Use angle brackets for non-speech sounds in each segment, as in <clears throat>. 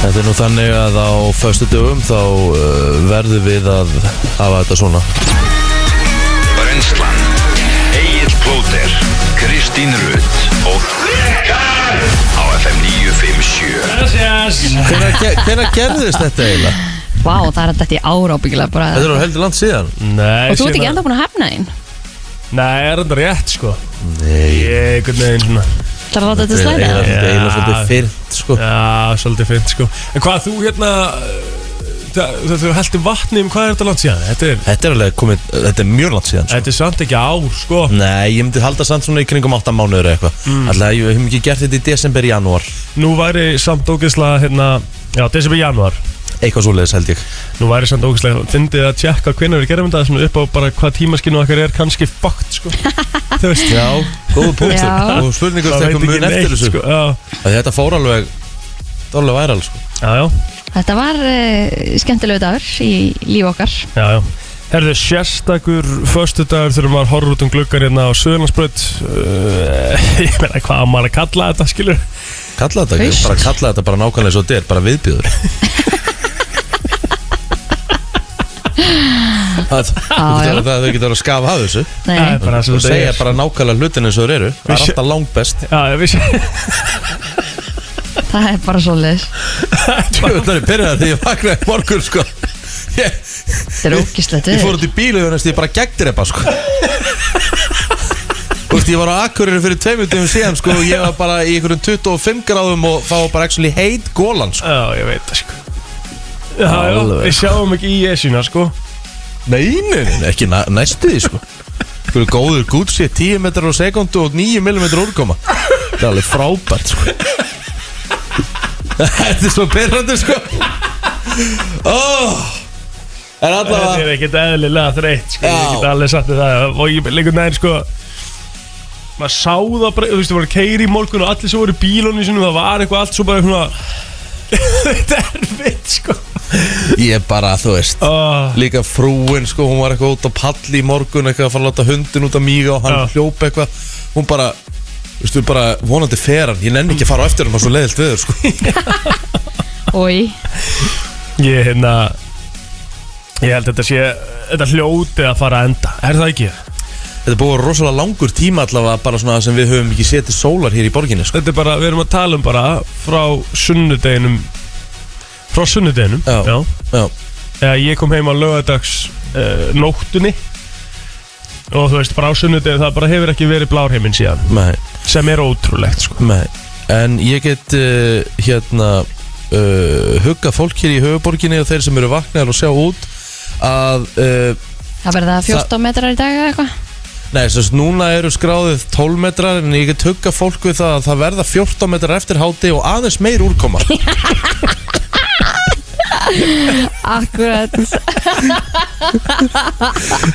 Þetta er nú þannig að á föstu dögum þá uh, verðum við að hafa þetta svona Brenslan Egil Plóter Kristín Rutt og á FM 957 Hvenær ge- hvenær gerðist þetta eiginlega? Vá, það er þetta í ára ábyggilega bara Þetta er nú heldur langt síðan Nei, Og þú ert ekki síðan- enda búin að hefna einn Nei, er þetta rétt sko Nei, Ég er einhvern veginn svona Það er að láta þetta þetta er slæða eiginlega- Já. eiginlega svolítið fyrnt sko Já, svolítið fint sko En hvað þú hérna Þegar þú heldur vatni um hvað er þetta langt síðan Þetta er, Þetta er alveg komið, þetta er mjög langt síðan sko. þetta er samt ekki ár sko Mm. Nei, ég myndi halda samt svona í kringum 8 mánuður eða eitthvað Alltaf, ég hef ekki gert þetta í desember, janúar Nú væri samt ógeðslega hérna Já, desember januar Eitthvað svoleiðis held ég Nú væri samt ógeðslega Fyndið að tjekka hvernig við gerum þetta svona upp á bara hvað tímaskinu okkar er kannski fakt sko Þú veist Já, góðu punktur Já. Og spurningur Það þegar veit mun ekki eftir neitt þessu sko Já, Af því Þetta fór alveg, þetta var alveg væral sko já, já Þetta var uh, skemmtilegu dagur í líf okkar Já, já. Herðu, sérstakur föstudagur þegar maður horfður út um gluggan hérna á Suðurlandsbröð uh, <laughs> Ég meina, hvað á maður að kalla þetta, skilur? Kalla þetta ekki, Haust. bara kalla þetta bara nákvæmlega svo þetta er, bara viðbjöður Það það já. er það að þau getur að skafa af þessu Nei, er bara það og sem segja þetta er bara nákvæmlega hlutin eins og þeir eru Það er alltaf langbest Já, ég vissi það er bara svoleiðis Það er byrjað því ég vaknaði í morgun sko Ég, Þetta er ógislegt ég fór út í bílu og ég bara gegdur eitthvað sko Þú veist, ég var á Akureyri fyrir tveimur dögum síðan sko og ég var bara í einhverjum 25 gráðum og þá var bara actually heit gólan sko Já, ég veit það, sko Já, já, Alveg. við sjáum ekki í esina, sko Nei, nei, nei, ekki næ, næstu því sko Hverju góður Gucci 10 metrar á sekundu og 9 mm úrkoma Það er alveg frábært sko <laughs> Þetta er svo byrrandi sko oh, En Þetta allavega er ekkert eðlilega þreytt, sko Ég Já. get alveg satt við það Og ég leikur neginn, sko Maður sá það bara, þú veist, það voru keiri í morgun og allir sem voru í bílunni sinum Það var eitthvað allt svo bara svona <laughs> Þetta er erfitt, sko Ég bara, þú veist oh. Líka frúin sko, hún var eitthvað út á palli í morgun Eitthvað að fara að láta hundin út að míga og hann Já. hljópa eitthvað Hún bara, veistu, bara vonandi fer hann Ég nenni ekki að fara á eftir hann á svo leiðilt viður <laughs> sko Ói, Ég hérna Ég held að þetta sé Þetta hljóti að fara að enda Er það ekki? Þetta er búið að vera rosalega langur tíma allavega bara svona sem við höfum ekki setið sólar hér í borginni sko. Þetta er bara Við erum að tala um bara Frá sunnudeginum Frá sunnudeginum Já. Já, Þegar ég kom heim á lögadags uh, Nóttunni Og þú veist Bara á sunnudegin Það bara hefur ekki verið blárheiminn síðan nei, Sem er ótrúlegt sko nei En ég get uh, hérna uh, hugga fólk hér í höfuborginni og þeir sem eru vaknaðar og sjá út að uh, það verða 14 metrar í dag eða eitthvað Nei, þess að núna eru skráðið 12 metrar en ég get hugga fólk við það að það verða 14 metrar eftir háti og aðeins meir <laughs> úrkoma Akkurat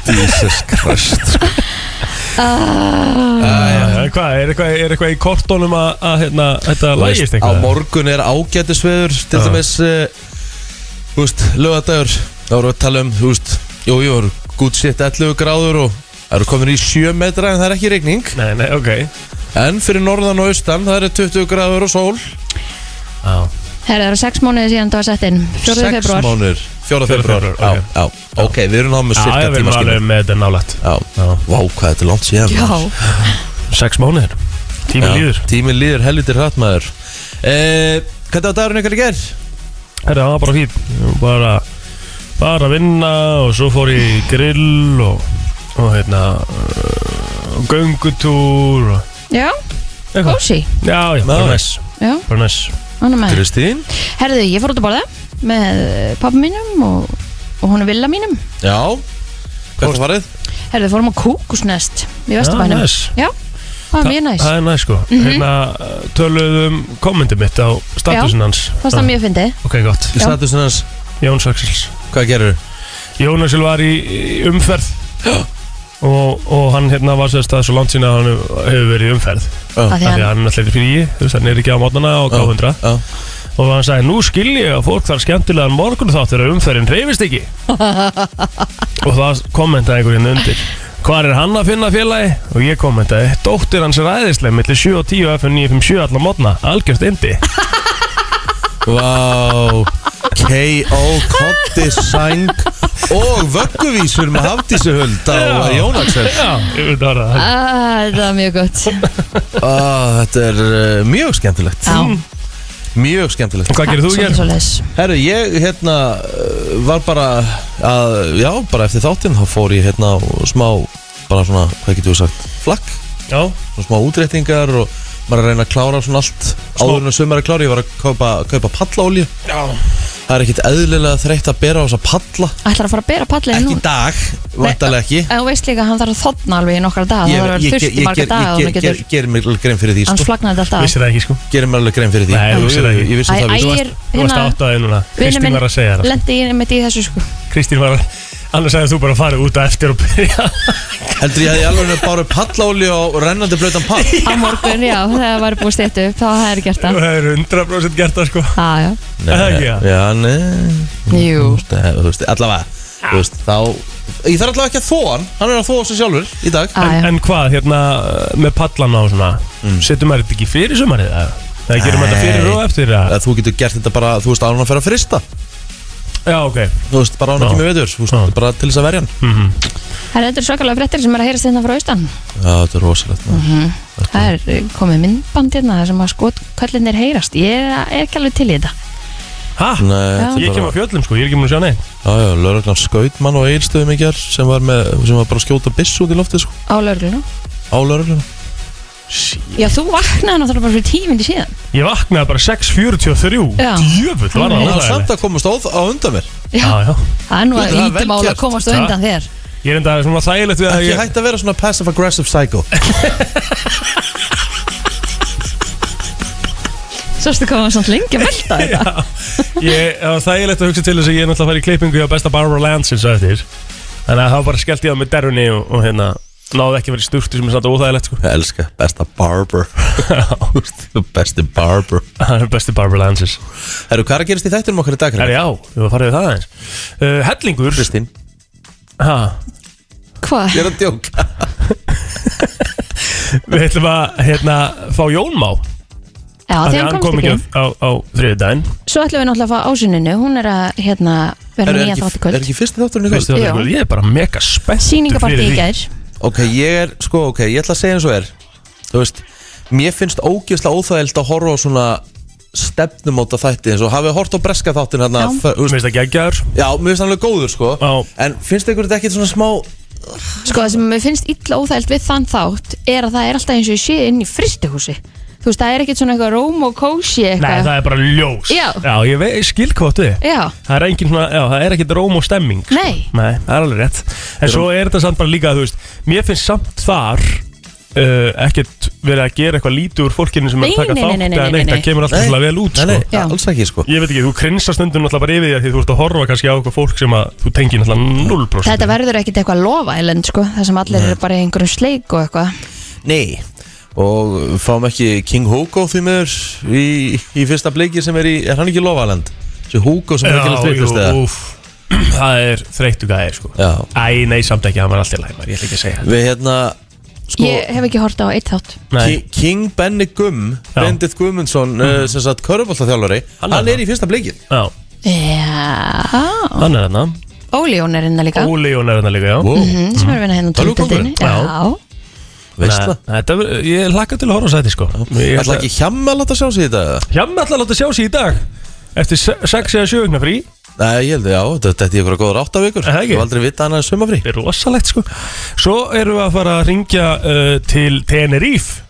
Jesus Christ Ah, En Ah, Hvað? Er eitthvað, er eitthvað í kortónum að, að hérna, Þetta lægist Á eitthvað? morgun er ágætisveður Til Já. dæmis uh, Úst, lögadagur Það voru að tala um, þú veist Jú, jú, eru gút sitt 11 gráður og Það eru komin í 7 metra en það er ekki regning Nei, nei, ok En fyrir norðan og austan það eru 20 gráður og sól Já Herra, það eru 6 mánuði síðan þú var sett inn 4. 6 februar mánuður 4. 4. februar febrúar, okay. Já, já, ok, við erum náðum með Já, cirka ég verðum tíma alveg skilur með þetta nálægt Já, Já. vá, hvað þetta er langt síðan Já, maður. Sex mánuðir Tími Já, líður Tíminn líður helvitir hratt maður eh, Hvernig var dagurinn ykkur í gerð? Herra, það var bara fín Ég var bara, bara að vinna og svo fór ég í grill og, og hérna uh, og göngutúr og já, eitthvað kósi Já, já, Já. bara næs Já, bara næs ánum með Kristín? Herðu, ég fór út að borða með pappa mínum og, og hún er villa mínum Já Hvernig farið? Herðu, fórum á kúkusnest í Já, Vestabænum næs. Já, það var Ah, mjög næs Mhm. Það er næs sko Hérna uh, töluðum kommentið mitt á statusin hans Ah. Fannst það mjög fyndið Ok, gott Í Já. statusin hans, Jóns Axels hvað gerur? Jónasil var í, í <gasps> umferð og, og hann hérna var sérst að svo langt sína að hann hefur verið í umferð Af því Þannig að hann, hann er allir fyrir í Þú veist, hann er ekki á mótnana og gáðundra Já, Og hann sagði, nú skil ég að fólk þarf skemmtilegan morgun þátt þegar umferðin reyfist ekki Og það kommentaði einhver hérna undir Hvar er hann að finna félagi? Og ég kommentaði, dóttir hans er æðislega millir 7 og 10 og FN 957 allar mótna, algjörst indi Vá K.O. Kotti Sæng og vögguvísur með Hafdísi hund á Já. Jónaksel Já, ég veit að það Ah, það er mjög <laughs> gott ah, Þetta er uh, mjög skemmtilegt Já, Mjög skemmtilegt Mm. Hvað gerir þú svolítið hér? svoleiðis. Herru, ég hérna uh, var bara að, já, bara eftir þáttinn þá fór ég hérna á smá bara svona, hvað getur við sagt, flakk Já, svona smá útréttingar og maður er að reyna að klára svona allt áður en sömur er að klára, ég var að kaupa, kaupa pallaolju já það er ekkit eðlilega þreytt að bera á þessa palla Ætlar að fara að bera pallin ekki nú í dag, vantarlega ekki En þú veist líka að hann þarf að þotna alveg í nokkra daga Það þarf að ég, ég, vera ég, þurft í ég, marga ég, daga og ég, hann ég, getur ég gerir mér alveg grein fyrir því Hann sko. flagnaði þetta alltaf Vissir það ekki sko gerir mér alveg grein fyrir því Nei, Jú, þú vissir það jú, jú, ekki. ég vissi Æ, æ, það vissi. ég er Þú varst hérna átt að núna Vinnur Kristín minn var að segja það lendi ég mitt í þessu sko Kristín var að Annars hefði þú bara farið út að eftir og byrja heldur ég að ég alveg bara pallaolju og rennandi blötan pall <laughs> Á morgun, já, þegar það var búið að stetta upp Þá það er gert Þú það hefur 100% gert það sko Já, já, Nei, Það ekki, já, já. nei jú Þú veist, eh, þú veist, allavega Þú veist, þá Ég þarf allavega ekki að þóa hann Hann er að þóa sig sjálfur í dag Á, en, já. en hvað, hérna með pallan á svona Settum maður þetta ekki fyrir sumarið eða? Það gerum maður þetta fyrir Mm. Nei. og eftir að að Þú getur gert þetta bara, þú veist, án að fara að frista Já, ok Mhm. Þú veist, bara án Já. að kemur veður Þú veist, Já. bara til þess að verja hann Það er endur svakalega fréttir sem er að heyrast hérna frá austan Já, þetta er rosalegt maður. Mhm. Það er eh, komið myndband hérna þar sem að skotkallinir heyrast Ég er, er ekki alveg til í þetta Ha? Nei, þetta er Ég kem bara á fjöllum sko, ég er ekki mun að sjá neinn Já, já, lögreglan skaut mann og eilstöðum í gerð sem var, með, sem var bara að skjóta byss út í loftið sko, á laurugluna á lögregluna Já, þú vaknaði náttúrulega bara fyrir tímindi síðan Ég vaknaði bara 6.43 Já. Djöfull var það Hann var óþægilegt. samt að komast á, á undan mér Já, Já, já það er nú að Það er vel lítið mála gert. að komast á undan þér Ég er enda svona þægilegt við að Ekki ég hægt að vera svona passive-aggressive psycho Svo stu komað samt lengi að <laughs> velta þetta Ég, það var þægilegt að hugsa til þess að ég er náttúrulega að fara í klippingu hjá besta Barbara Lansins á eftir Þannig að það var bara skellt ég á með derunni og, og hérna Náði ekki að vera í sturtu sem er samt óþægilegt sko Ég elska besta <laughs> barber Þú veist, Besti barber Það er besti Barbara Lansins Herru, hvað er að gerast í þættinum okkar í dag? Það er já, við varum að fara yfir það aðeins uh, Hellingur Kristín ha, Hvað? Ég er að djóka <laughs> Við ætlum að hérna, fá Jónmá Já, af því því að hann komst ekki ekki á, á, á þriðudaginn Svo ætlum við náttúrulega að fá ásuninu Hún er að, hérna, vera Herru, með nýja er þátt ekki, í er kvöld ekki fyrsti þátturinn í kvöld? Veistu það, Já. Hellingur, Ég er bara mega spennt Sýningapartí í gær Ok, ég er, sko, ok, ég ætla að segja eins og er Þú veist, mér finnst ógeðslega óþægild að horfa á svona stefnumóta þætti eins og hafið hort á breska þáttin hérna Já. fer- þú Mér veist, finnst það geggjaður Já, mér finnst hann alveg góður, sko Já. En finnst ykkur þetta ekkert svona smá Sko, það sem mér finnst illa óþælt við þann þátt Er að það er alltaf eins og ég sé inn í fristihúsi Þú veist, það er ekkert svona eitthvað róm og kósi Nei, eitthvað það er bara ljós Já. ég vei, skilkvóttu Já, Það er engin svona, já, það er ekkert róm og stemming sko. Nei. Nei, það er alveg rétt En svo er þetta samt bara líka, þú veist Mér finnst samt þar uh, ekkert verið að gera eitthvað lítið úr fólkinu sem er að Nei, taka nei, þátt nei, nei, eða nei, neitt, nei, það nei. kemur alltaf svona vel út Nei, nei, sko. Já. alls ekki, sko Ég veit ekki, þú krinsar stundum alltaf bara yfir því að því þú ert að horfa kannski á eitthvað fólk sem að þú tengir alltaf 0% þetta verður ekkert eitthvað lofa sko, það sem allir eru bara í einhverjum sleik og eitthvað Nei Og fáum ekki King Hugo því miður í, í fyrsta bleiki sem er í, er hann ekki í Lovaland? Þessi Hugo sem er ekki að Já, slipast jú, eða úf Það er þreyttu gæðir sko Já. Æ, nei, samt ekki, það var alltaf læmar, ég ætla ekki að segja Við hérna, sko Ég hef ekki hort á eitt þátt Nei, Ki- King Benny Gumm, Já. Bendit Guðmundsson uh, sem sagt körfbóltaþjálfari, Hann hann, er er í fyrsta bleikið já, Já, hann er hérna Óli Jón er hérna líka Óli Jón er hérna líka, já wow. Mhm, sem er að vinna hérna á tóndeldinni Tölvukóngurinn? Já, Veist það? Nei, Þetta, ég hlakka til að horfa á sæti sko Ég ætla ætla- ekki hjamma að láta sjá sig í þetta? Hjammi ætla að láta sjá sig í dag Eftir 6 eða 7 vegna frí Nei, ég held að já, þetta- þetta er ykkur að góður áttavíkur Er það ekki? Þú aldrei vita annað en sumafrí Þetta er rosalegt sko Svo erum við að fara að ringja uh, til Tenerife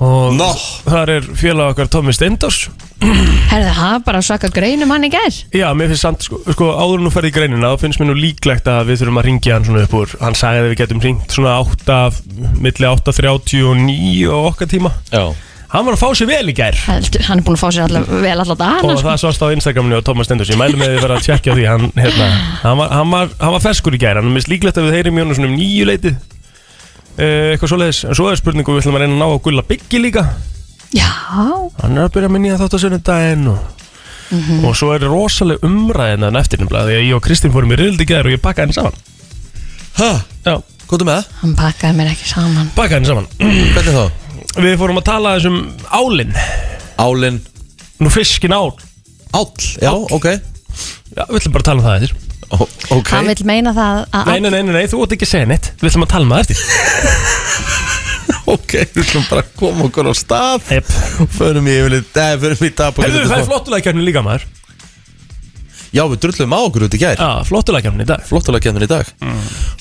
Og Nó. þar er félag okkar Tommi Steindors herðu það var bara svaka greinum hann í gær Já, mér finnst samt, sko, sko áður en þú ferði í greinina þá finnst mér nú líklegt að við þurfum að ringja hann svona upp úr Hann sagði að við getum ringt svona 8, milli 8.39 og okkar tíma Já Hann var að fá sér vel í gær Heldur- Hann er búin að fá sér allar, vel allar dagana og sko. það sást á Instagraminu á Thomas Stendurs ég mælu með því að vera að tjekka því hann, hérna, hann, var, hann, var, hann var ferskur í gæri hann er mist líklegt að við heyrim Jónu svona um nýju leitið eh, eitthvað svoleiðis en svo er spurningu við ætlum að reyna að ná að gulla byggi líka Já, Mhm. hann er að byrja að minni að þátt að sönnu daginn og, og svo er rosaleg hérna umræðin þannig eftir nefnilega því að ég og Kristín fórum í rildi gæri og ég pakkaði henni saman Hæ? já, Hvað er með það? hann pakkaði mér ekki saman pakkaði henni saman Hvernig þá? við fórum að tala aðeins um álinn Álin nú fiskin ál Áll, já, ok Já, við ætlum bara að tala um það eftir Ó, Ok Hann vil meina það að Nei, nei, nei, nei, nei, þú ótt ekki að segja neitt Við ætlum að tala um það eftir <laughs> Ok, við ætlum bara að koma okkur á stað Jep. Förum í yfirleitt, nei, förum í dag Hefðu, það er flottulega kemni hérna líka maður Já, við drullum á okkur út í gær Já, flottulega kemni í dag Mm. Flottulega kemur í dag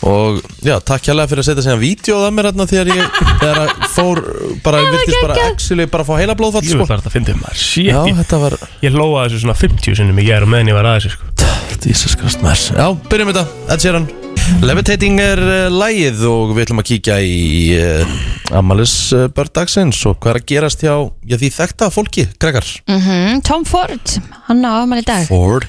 Og já, takk hérlega fyrir að setja sér vídeo að mér þarna þegar <laughs> ég þegar að fór bara, var virtist bara geggjað. actually bara að fá heila blóðfall Ég vil sko. bara þetta fyndið maður Shit, Já, ég, þetta var ég lóa þessu svona 50 sinnum í gær og meðan ég var að þessu sko Jesus Christ maður Já, byrjum þetta, Ed Sheeran Levitating er uh, lægið og við ætlum að kíkja í uh, Amalis uh, bördagsins og hvað er að gerast hjá já, því þekkta fólki, krakkar Mhm, Tom Ford, hann á afmæli í dag Ford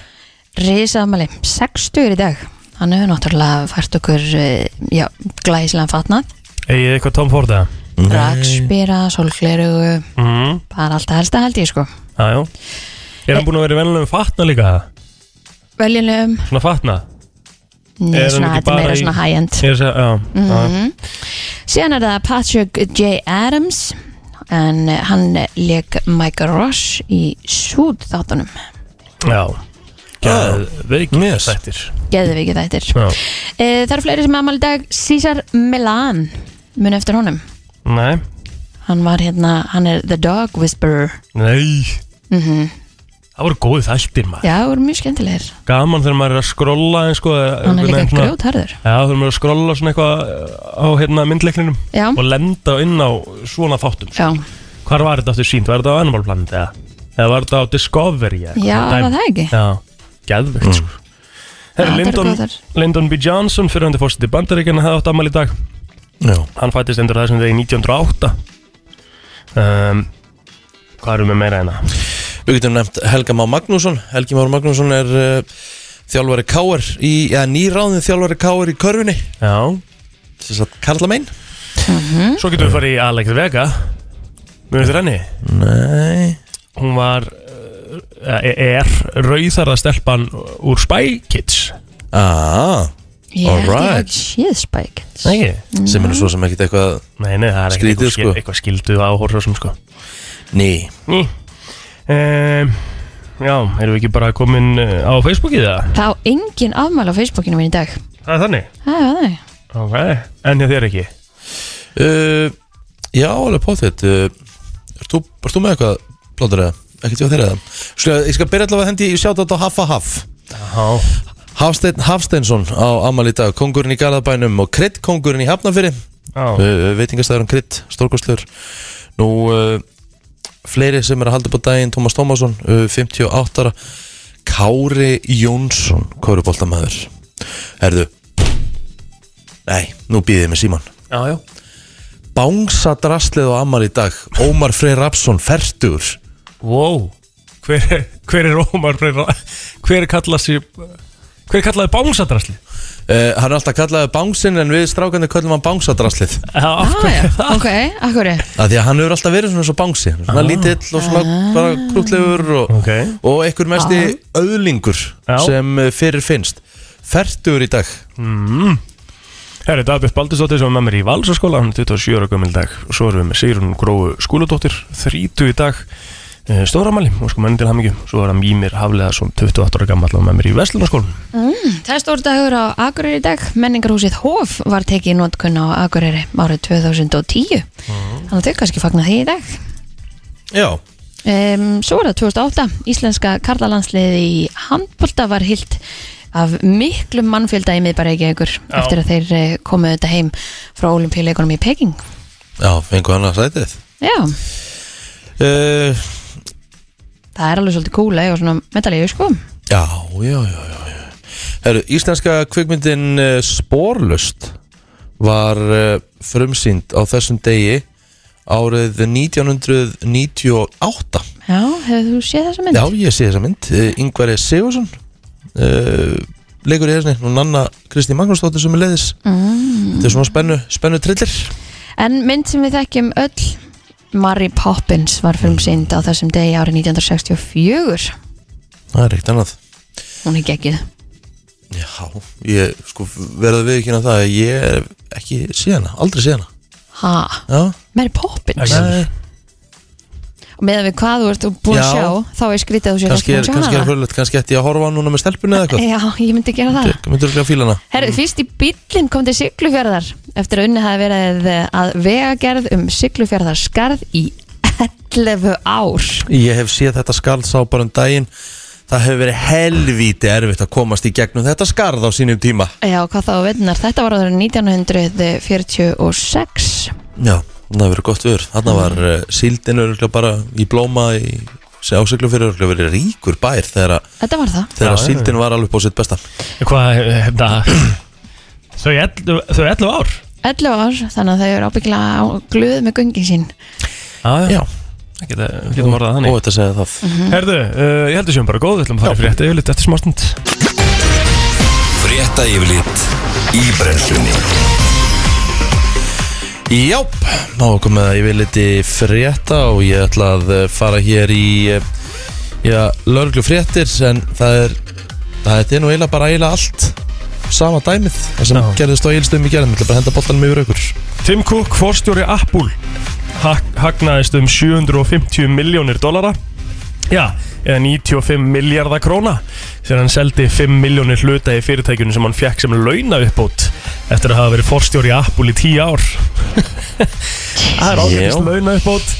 Risa afmæli, 60 í dag Hann hefur náttúrulega fært okkur eh, já, glæsilegan fatnað Egið eitthvað Tom Ford eða? Rakspýra, solgleru Mhm, Bara alltaf helsta held ég sko já, já Er Eh. hann búin að vera í venlega fatna líka? Veljulegum, Svona fatna? Er hann svona, ekki þetta er bara meira í- svona high-end Mhm. Ég er að segja, já, já Síðan er það Patrick J. Adams en eh, hann leik Mike Ross í Sud þáttunum Já Já. Veikir Yes. þættir Geðviki þættir Já. e, Það eru fleiri sem aðmæli dag César Milan mun eftir honum Nei hann var hérna, hann er The Dog Whisperer Mhm. Nei Það voru góði þættir maður Já, það voru mjög skemmtilegir Gaman þegar maður er að skrolla eins sko Hann er líka grjótharður Já þegar maður er að skrolla svona eitthvað á hérna myndleikninum Já. Og lenda inn á svona þáttum Já, Hvar var þetta aftur sínt? Var þetta á Animal Planet eða? Eða var þetta á Discovery eða? Já, Dæmi. var það ekki? Já, geðvegt Mm. sko Já, Herra, þetta eru Lyndon, góðar. Lyndon B. Johnson fyrir hundi fórstu til bandaríkjana hefði átt afmæli í dag Já, Hann fættist endur þessum degi 1908 um, Hvað erum við meira hérna? við getum nefnt Helga Má Magnússon Helgi Már Magnússon er uh, þjálfari Káar í, já, nýráðin þjálfari Káar í körfinni Já, sem sagt Karla Mein Mhm. Svo getum við farið í Alex Vega Mjög eftir henni Nei Hún var eh, er rauðarða stelpan úr Spy Kids Ah, ég held ég Alright. hafði séð Spike Nei, ekki? sem er nú svo sem ekkit eitthvað nei, nei, það er ekki Skrítið, eitthvað, skil, sko. eitthvað skildu áhorra sem sko Ný Ný um, Já, erum við ekki bara komin eh, á Facebookið það? Það á engin afmæli á Facebookinu mín í dag Það er þannig Það var það Ok, en hjá þér ekki uh, Já, alveg potið uh, Erst þú, ert þú með eitthvað plótur eða? Ekkert hjá þeirra eða? Ska, ég skal byrja allavega að hendi Ég sjátt á Haffa Haff Já, Hafsteinn Hafsteinsson á Amal í dag Kongurinn í Garðabænum og Krydd kongurinn í Hafnafyrir já, uh, Veitingastæður um Krydd, stórkostlur Nú uh, Fleiri sem er að halda upp á daginn Tómas Tómasson, uh, 58 ára Kári Jónsson Kóruboltamæður Herðu Nei, nú býðið með síman já, já bánsadraslið á Amal í dag Ómar Freyr Rapsson, fertur Wow, hver, er- hver er Ómar Freyr <laughs> Hver kallað sér Hver kallaði bánsadrasli? uh, Hann er alltaf kallaðið bánsinn en við strákandi köllum hann bánsadraslið Já, af Ah, já, hverju það? ok, akkur af því að hann hefur alltaf verið svona svo bánsi svona lítill og svona bara krútlegur og, Ah. Ok. og einhver mesti öðlingur Já. sem eh, fyrir finnst fertur í dag Mm. Herri, Dagbjörn Baldursdóttir sem er með mér í Valsaskóla, hann er 27 ára gömul í dag og svo erum við með Sigrun Gróu Skúladóttir 30 í dag eh, stóramæli og sko menni til hamingju svo er hann Mímir Hafleðarsson 28 ára gammal og með mér í Vestlunarskólan Það er stór dagur á Akureyri í dag Menningarhúsið Hof var tekið í nótkunn á Akureyri árið 2010 Þannig að þau kannski fagna því í dag Ah. Já, um, Svo er það 2008 Íslenska karlalandsliði í handbolta var hilt af miklum mannfjölda í miðbæreiki ykkur Já. eftir að þeir eh, komu þetta heim frá olimpíuleikunum í Peking já, fengu hann að sætið Já, uh, það er alveg svolítið kúla og svona metalíu sko Já, já, já, já, já. Heru, Íslenska kvikmyndin uh, Sporlust var uh, frumsýnd á þessum degi árið 1998 Já, hefur þú séð þessa mynd? Já, ég sé þessa mynd uh, Ingvar Sigursson uh, leikur í þessni og Nanna Kristi Magnúsdóttir sem er leiðis mm. Þetta er svona spennu, spennu trillir En mynd sem við þekkjum öll Mary Poppins var filmsýnd á þessum degi árið 1964 Það er eitt annað Hún er geggið Já, ég sko verða við ekki að það að ég er ekki síðana, aldrei síðana Ha, Já, Mary Poppins? Ekki. nei, með við hvað þú ert búin að Já. sjá þá er skrítið að þú sér kannski er, ekki búin að kannski sjá er hana hröðlegt, kannski ætti ég að horfa á núna með stelpunni eða eitthvað Mm. Já, ég myndi gera það Ég myndur ekki að fíla hana Herru, fyrst í bíllinn kom til Siglufjörðar eftir að unni hafi verið að vegagerð um Siglufjörðar skarð í 11 ár Ég hef séð þetta skarð sá bara um daginn Það hefur verið helvíti erfitt að komast í gegnum þetta skarð á sínum tíma Já, hvað þá veitnar, þetta var áður en 1946 Já, það hefur verið gott vör Þarna var uh, síldin örgulega bara í blóma í ásiklum fyrir örgulega verið ríkur bær þegar, að- Þetta var það þegar Já, já, síldin var alveg på sitt besta Hvað, þetta Þau ellu- þau er 11 ár 11 ár, þannig að þau eru ábyggilega á glöð með göngin sín Já, Já, Ekki það, við getum orðað það og þannig þetta segja það Herðu, uh, ég heldur sem bara góð, við ætlum að fara fyrir þetta yfirleitt eftir smástund Frétta yfirlit í brennslunni Já, þá komið að ég vil liti frétta og ég ætla að eh, fara hér í eh, já, lörglu fréttir en það er, það er nú eiginlega bara eiginlega allt sama dæmið það sem Já. gerðist á eilstum í gerðum, ég ætla bara að henda boltanum yfir ykkur Tim Cook, forstjóri Apple hag hagnaðist um 750 miljónir dollara já, eða 95 miljardar króna þegar hann seldi 5 miljónir hluta í fyrirtækjunum sem hann fekk sem launa uppbót eftir að hafa verið forstjóri Apple í 10 ár <laughs> það er ágætist launa uppbót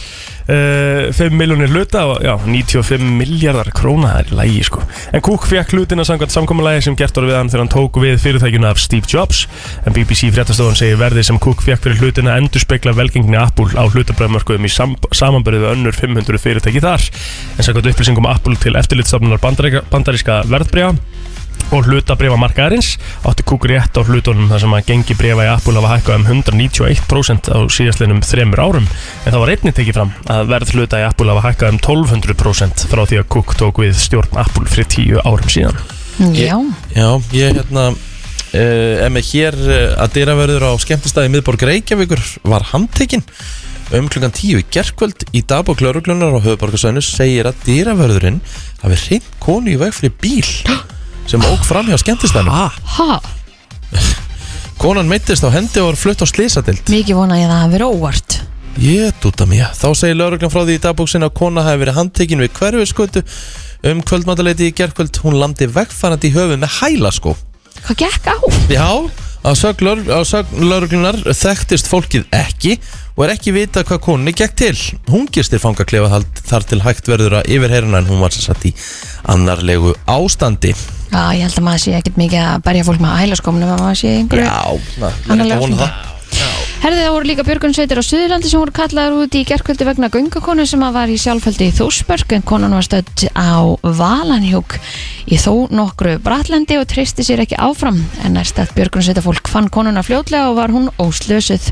Uh, 5 miljónir hluta og já, 95 miljardar króna það er í lægi sko en Cook fekk hlutina samkvæmt samkommulagi sem gert var við hann þegar hann tók við fyrirtækjuna af Steve Jobs en BBC fréttastofan segir verðið sem Cook fekk fyrir hlutina endur spekla velgengni Apple á hlutabræðmörkuðum í sam samanbyrðið við önnur 500 fyrirtæki þar en samkvæmt upplýsingum Apple til eftirlitsstofnunar bandaríka, bandaríska verðbríða og hlutabrifa markaðarins átti Cook rétt á hlutunum þar sem að gengi brefa í Apple hafa hækkað um 191% á síðastlinum þremur árum en það var einnig tekið fram að verð hluta í Apple hafa hækkað um 1200% frá því að Cook tók við stjórn Apple fyrir 10 árum síðan Já, Já, ég hérna uh, er með hér eh, að dyraverður á skemmtistæði miðborg Reykjavíkur var handtekinn um klukkan 10 í gerkvöld í dagbók lauruglunar á höfuborgarsvæðinu segir að dyraverðurinn hafi hreint konu í veg fyrir bíl sem ók fram hjá skemmtistæðinu ha, Konan meittist á hendi og var flutt á slísadild mikið vona ég að það hafi verið óvart Ég dúta mér Þá segir lauruglan frá því í dagbóksin að kona hafi verið handtekin við hverfiskötu um kvöldmataleiti í gerkvöld hún landi vegfarandi í höfu með hælaskó Hvað gekk á? Já, á sögn lög- á sögn lauruglunar þekktist fólkið ekki og er ekki vita hvað konunni gekk til Hún gistir fangaklefahald þar til hægt verður að yfirherina en hún var sér satt í annarlegu ástandi Já, ég held að maður sé ekkert mikið að berja fólk með ælaskómnum að maður sé einhverju na, Annarlega ég vona ástandi. það Herðið það voru líka björgunsveitir á Suðurlandi sem voru kallaðar út í gerkvöldi vegna göngukonu sem að var í sjálfhældi í Þósberg en konan var stödd á Valanhjúk í þó nokkru bratlendi og treysti sér ekki áfram en næst að björgunsveita fólk fann konuna fljótlega og var hún óslösuð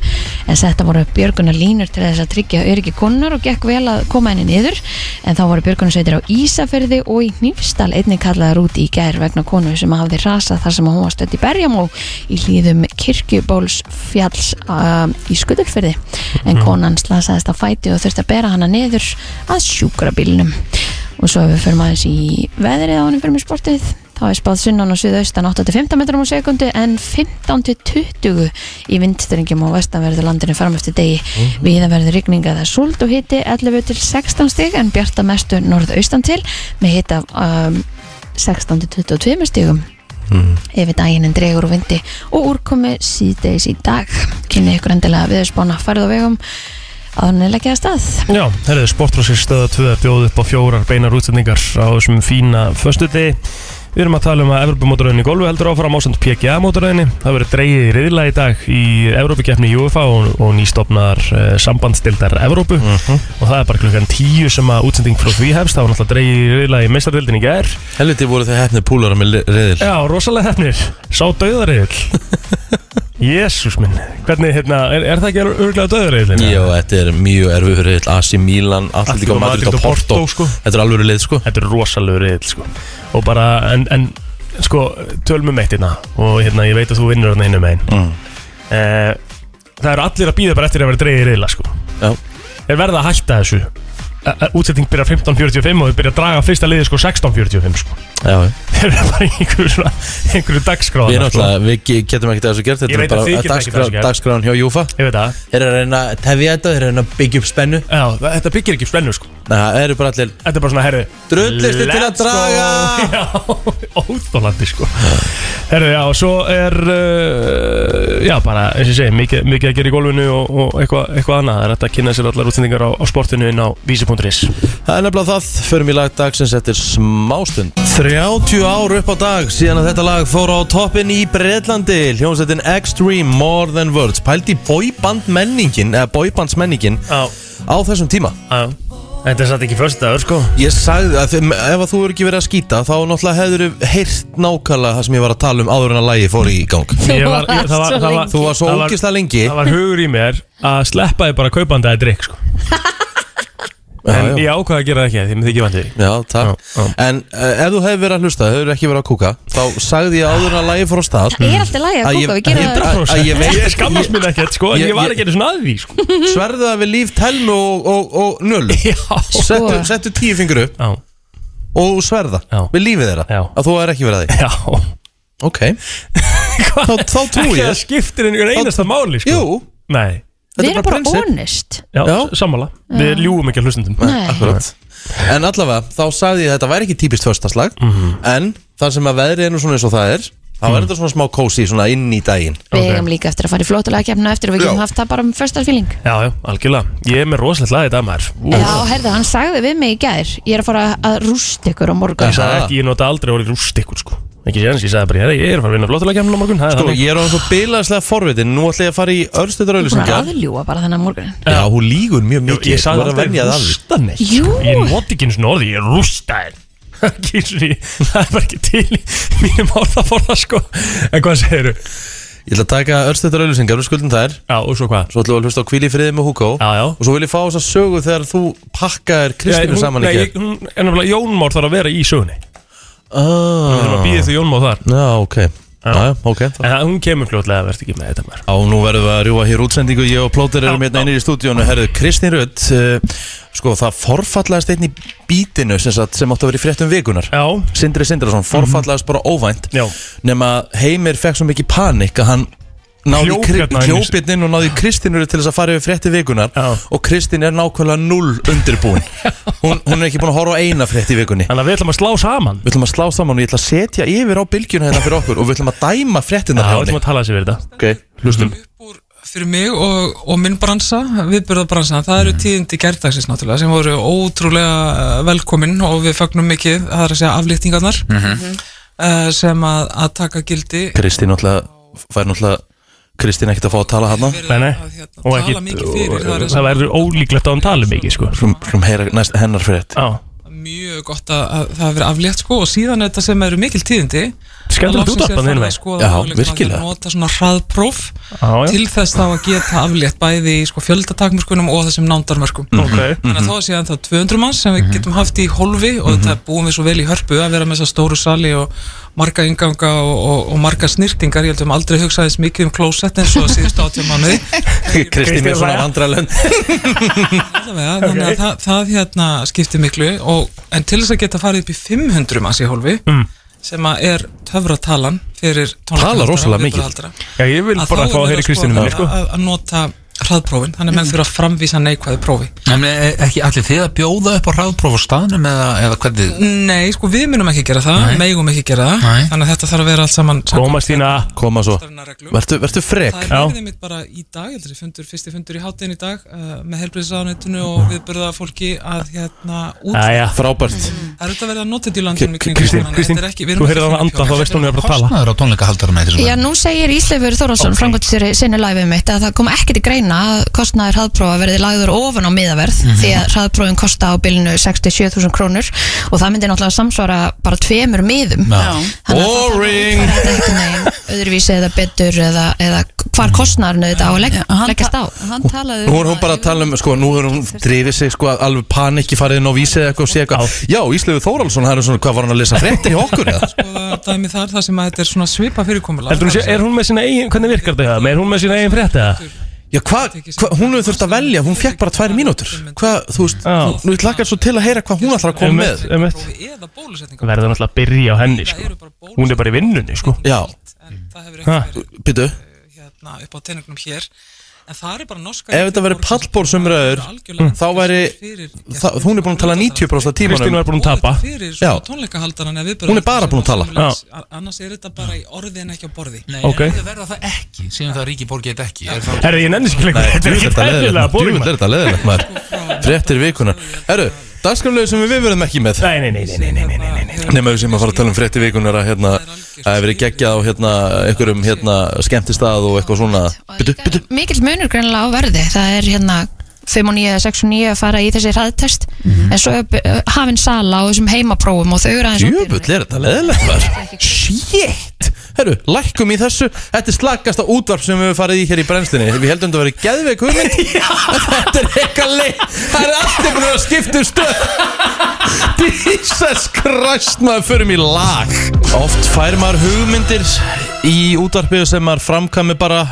en þetta voru björgunar línur til þess að tryggja öryggi konunar og gekk vel að koma henni niður en þá voru björgunsveitir á Ísafyrði og í Hnífstal einnig kallaðar út í gær vegna konu sem hafði rasað þar sem hún var stödd í Berjamó í hlýðum kirkjubólsfjalls uh, í Skutulfyrði en konan slasaðist á fæti og þurfti að bera hana niður að sjúkrabílnum og svo ef við förum aðeins í veðrið á hann fyrir mig sportið þá er spáð sunnan og suðaustan 8-15 metrum á sekundu en 15-20 í vindstrengjum og vestanverðu landinu fram eftir degi viða verður rigninga það súld og hiti 11-16 stig en bjarta mestu norðaustan til með hita um, 16-22 stigum Mm. yfir daginn en dregur og vindi og úrkomi síðdeis í dag kynni ykkur endilega viðspána farið á vegum að hann er leggjað að stað Já, herriðu, sportrósir stöða 2 bjóð upp á fjórar beinar útsendingar á þessum fína föstuti Við erum að tala um að Evropamótaröðinni í golfu heldur áfram ásand PGA mótaröðinni. Það verður dreigið í riðla í dag í Evropakeppni UEFA og, og nýstofnar uh, sambandstildar Evropu og það er bara klukkan 10 sem að útsending frá því hefst. Það var náttúrulega dreigið í riðla í meistardildinni í gær. Helviti voru þau hefni púlara með reyðil Já, rosalega hefnir. Sá döðariðil. Jésús minn. Hvernig, hérna, er, er það ekki örgulega döðariðil? Jó, þetta er mjög erfið reyðil Asi, Milan, Atlético Atletico Madrid Madrid og og Porto Porto, sko. Þetta er alveg leið sko þetta er rosalegur reyðil sko. og bara, en, en sko, tölum um eitt hérna og hérna, ég veit að þú vinnur hérna hinn um einn Mm. Eh, það eru allir að býða bara eftir að vera dreigið reyðila sko. Já. er verða að hætta þessu útsetting byrjar 15.45 og þau byrja að draga fyrsta liði sko 16.45 sko. <laughs> Já, já. þeir eru bara í einhverju, svona- einhverju dagskráð Við náttúrulega, við ge- getum ekkert að þessu gert sko. Ég Þetta er veit að þið bara getið ekkert að þessu dagskrá- gert. dagskráðan hjá Júfa ég veit það Þeir eru að reyna að tefja þetta, þeir eru að reyna að byggja upp spennu Já, þetta byggir ekki upp spennu sko Nei, það eru bara allir Þetta er bara svona, herri Drullustu til að let's go. draga. Já, óþólandi sko Herri, já, og svo er uh, Já, bara, eins og ég segi, mikið, mikið að gera í gólfinu og, og eitthvað eitthva annað Það er hægt að kynna sér allar útsendingar á, á sportinu inn á vísi.is Það er nefnilega það, förum í lag dagsins eftir smástund 30 ár upp á dag síðan að þetta lag fór á toppin í Breitlandi Hljómsveitin Extreme More Than Words Pældi boyband menningin, eða boybands menningin Já, á þessum tíma já Þetta er satt ekki fyrst dagur sko Ég sagði að þeim, ef að þú eru ekki verið að skýta þá náttúrulega hefur heyrt nákvæmlega það sem ég var að tala um áður en að lagi fór í gang Ég var- ég- það var- það var- Þú var svo Það var- ógislega lengi Það var hugur í mér að sleppa þið bara kaupandi að drikk sko En já, já. ég ákvaða að gera það ekki því mér þykir vandi því Já, takk Já, já. En uh, ef þú hefur verið að hlusta, hefur ekki verið að kúka Þá sagði ég áður en að lagi fór á stað Ég er alltaf lægi að Að ég- kúka, við gerum að það ég drakk- Að ég veit- Ég skammast mér ekkert sko En Ég- ég var ég- ekki einu svona að því sko Sverðu það við líf telmu og, og, og nölu Já settu, settu tíu fingur upp Já, og sverða Já. Við lífið þeirra Já. Að þú er ekki verið að því já <laughs> Ok Þá, þá Ekki trúi ég það þess. skiptir einhver einasta máli sko Jú, Nei Við erum bara prinsipp. honest Já, Já. sammála Við ljúum ekki að hlustundum Nei. Akkurat En allavega, þá sagði ég að þetta væri ekki típist förstaslag Mhm. En þar sem að veðrið er nú svona eins og það er Þá er þetta svona smá kósi svona inn í daginn Við Ok. eigum líka eftir að fara í flottulega kemna eftir og við getum Já. haft það bara um fyrsta fíling Já, já, algjörlega Ég er með rosalegt lagið þetta maður Ú, Já, herðu, hann sagði við mig í gær Ég er að fara að rúst ykkur á morgun Ég sagði Aha. ekki, ég nota aldrei orðið rúst ykkur sko Ekki séðans, ég sagði bara, "Herra, ég er að fara að vinna flottulega kemna á morgun það er Sko, þannig." ég er á eins og bilaðslega forvitin Nú ætla ég að fara í Þú er örstuður búin að auðlýsingar aðljúa bara þennan morgun Já, hún lígur mjög Ég- mikið Ég sagði Þú verður að aldrei venja það af því. um rústa neitt Jú. sko. Ég noti ekki einu svona orði, ég rústa þér <laughs> Ekki einu svona- Það er bara ekki til í mínum orðaforða sko En hvað segiru? Ég ætla að taka örstuður auðlýsingar, við skuldum þær Já, og svo hvað? Svo ætlum við að hlusta á Kvíli friði með Hugo Já, já Og svo vil ég fá þess að sögu þegar þú pakkaðir Nei, Kristínu hún- saman nei, í ég- gerð hún- En náttúrulega Jón Már þarf að vera í sögunni Við þurfum að ah. býða því Jón Már þar Já, ok Já, já, ok þá- En það- hún kemur fljótlega að verða ekki með þetta maður Já, nú verðum við að rjúa hér útsendingu Ég og Plóter erum Já, hérna einir í stúdíónu Herðu, Kristín Rutt uh, Sko, það forfallaðist einn í bítinu sem, sagt, sem átti að vera í fréttum vikunar Já, Mhm. Sindri Sindrason, forfallaðist bara óvænt Já. Nefna Heimir fekk svo mikið panik að hann náði Hljóp hérna inn í- hljópinnin og náði Kristín Rutt til þess að fara yfir fréttum vikunar Já. og Kristín er nákvæmlega null <laughs> undirbúin hún, hún er ekki búin að horfa á eina frétt í vikunni þannig að við ætlum að slá saman Við ætlum að slá saman og ég ætla að setja yfir á bylgjuna hérna fyrir okkur og við ætlum að dæma fréttina Já, við ætlum að tala þessi verið þetta Ok, hlustum upp úr fyrir mig og, og minn bransa, viðbyrðabransa það eru tíðindi gærdagsins náttúrulega sem voru ótrúlega eh, velkomin og við fagnum mikið, það er að segja aflýtingarnar mm sem að, að taka gildi Kristín náttúrulega fær náttúrulega Kristín ekkert að fá að tala hana Nei, nei, að hérna, og tala ekki, mikið fyrir það er það verður ólíklegt að hún tali mikið sko Slum, slum heyra næst <laughs> hennar frétt Já, mjög gott að, að það hafi verið aflétt sko og síðan er þetta sem eru mikil tíðindi skemmtilegt út af það þinn veginn sko, Já, að virkilega. nota svona hraðpróf Já, já, til þess þá að geta aflétt bæði í sko, fjöldatakmörkunum og þessum nándarmörkum Mm. ok þannig að þá Mhm. sé ennþá 200 manns sem við getum haft í holfi og þetta búum við svo vel í hörpu að vera með þessa stóru sali og marga ynganga og, og, og marga snirtingar ég heldum aldrei hugsaðis mikið um klósett eins og síðust átjum mánuði Kristín er svona vandralönd allavega, þannig að Ok. það, það hérna skiptir miklu og, en til þess að geta farið upp í 500 manns í holfi Mm. sem að er töfratalan fyrir tónleikahaldara Talar rosalega og mikið. viðburðahaldara, Já, ég vil að bara þá er fá að verið heyra Kristínu skoða minni sko Mm. að- að nota hraðprófin, þannig að menn þurfa að framvísa neikvæðu prófi En er e- ekki allir þið að bjóða upp á hraðpróf á staðnum eða, eða hvernig Nei, sko við munum ekki gera það, megum ekki gera það Nei. Þannig að þetta þarf að vera allt saman Koma Stína Koma svo Það Vertu, vertu frek er Já. verið mitt bara í dag, heldur, fundur, fyrsti fundur í hátinn í dag uh, með helbriðsraðanættinu og við burða fólki að hérna út Mm. Æja, Frábært Það er þetta verið að nota þetta í landinu Kristín, Kristín, þú heyrið hann anda þá veist hún er að fara að tala kostnaður á tónleikahaldarum eitthvað Já, nú segir Ísleifur Þóralsson, okay. framkvæmstjóri sinni læfið mitt að það kom ekki til greina að kostnaður hraðprófa verði lagður ofan á miðaverð því að hraðprófin kosta á bilinu 67.000 krónur og það myndi náttúrulega samsvara bara tveimur miðum Boring. Þannig að það þarf að fara eitthvað neginn öðruvísi eða betur eða, eða hvar kostnaðurinn auðvitað á að legg, Já, hann leggast á ta- hann talaði Nú er hún bara að tala um, sko, nú er hún drifið sig, sko, alveg panikki farið inn á vísi eða eitthvað og sé eitthvað Já, Íslegu Þóraldsson, það er svona, hvað var hann að lesa fréttir í okkur eða? <laughs> Dæmi þar, það sem að þetta er svona svipa fyrirkomulag Heldur hún sé, er hún með sína eigin, hvernig virkar þetta? Er hún með sína eigin frétt eða? Já, hvað, hva, hún hefur þurft að velja, hún fekk bara tvær mínútur Hvað, þú veist, Já. nú ég lakkar svo til að heyra hvað hún ætlar að koma með Emmett Eða bólusetningar Verður náttúrulega að byrja á henni sko Hún er bara í vinnunni sko Já, En það hefur ekki verið byttu hérna, upp á teiningnum hér en það er bara norska Ef þetta væri pallborðsumræður, þá væri- Það, hún er búin að tala 90% Kristín af tímanum var búin að tapa fyrir Já. svona tónleikahaldaran eða viðburðar- Hún er bara búin að tala. Já. annars er þetta bara í orði en ekki á borði Nei, Ok. en þau verða það ekki, síðan um það ríki borgið þetta ekki er það, Herði, ég nenni sér ekki lengur, þetta er Djúvill er ekki þetta tæfilega leðilegt Djúvill bóring er þetta leðilegt maður Frettir vikunar Herru, dagskraflegu sem við verðum ekki með Nei, nei, nei, nei, nei, nei, nei, nei, nei. Nefnum við sem að fara að tala um frettir vikunar að hérna að hefur verið geggjað á hérna einhverjum hérna skemmtistað og eitthvað svona Byttu, byttu mikill munur greinlega á verði það er hérna 5 og 9 eða 6 og 9 að fara í þessi hraðtest en svo er b- hafin sala á þessum heimaprófum og þau eru aðeins Djúvill er þetta leðilegt maður Shit Herru, lækkum í þessu Þetta er slakasta útvarp sem við höfum farið í hér í brennslinni Við heldum þetta að vera geðveik <laughs> hugmynd Þetta er eitthvað leið Það er alltaf búin að vera að skipta um stöð Jesus Christ maður förum í lag Oft fær maður hugmyndir í útvarpið sem maður framkami bara,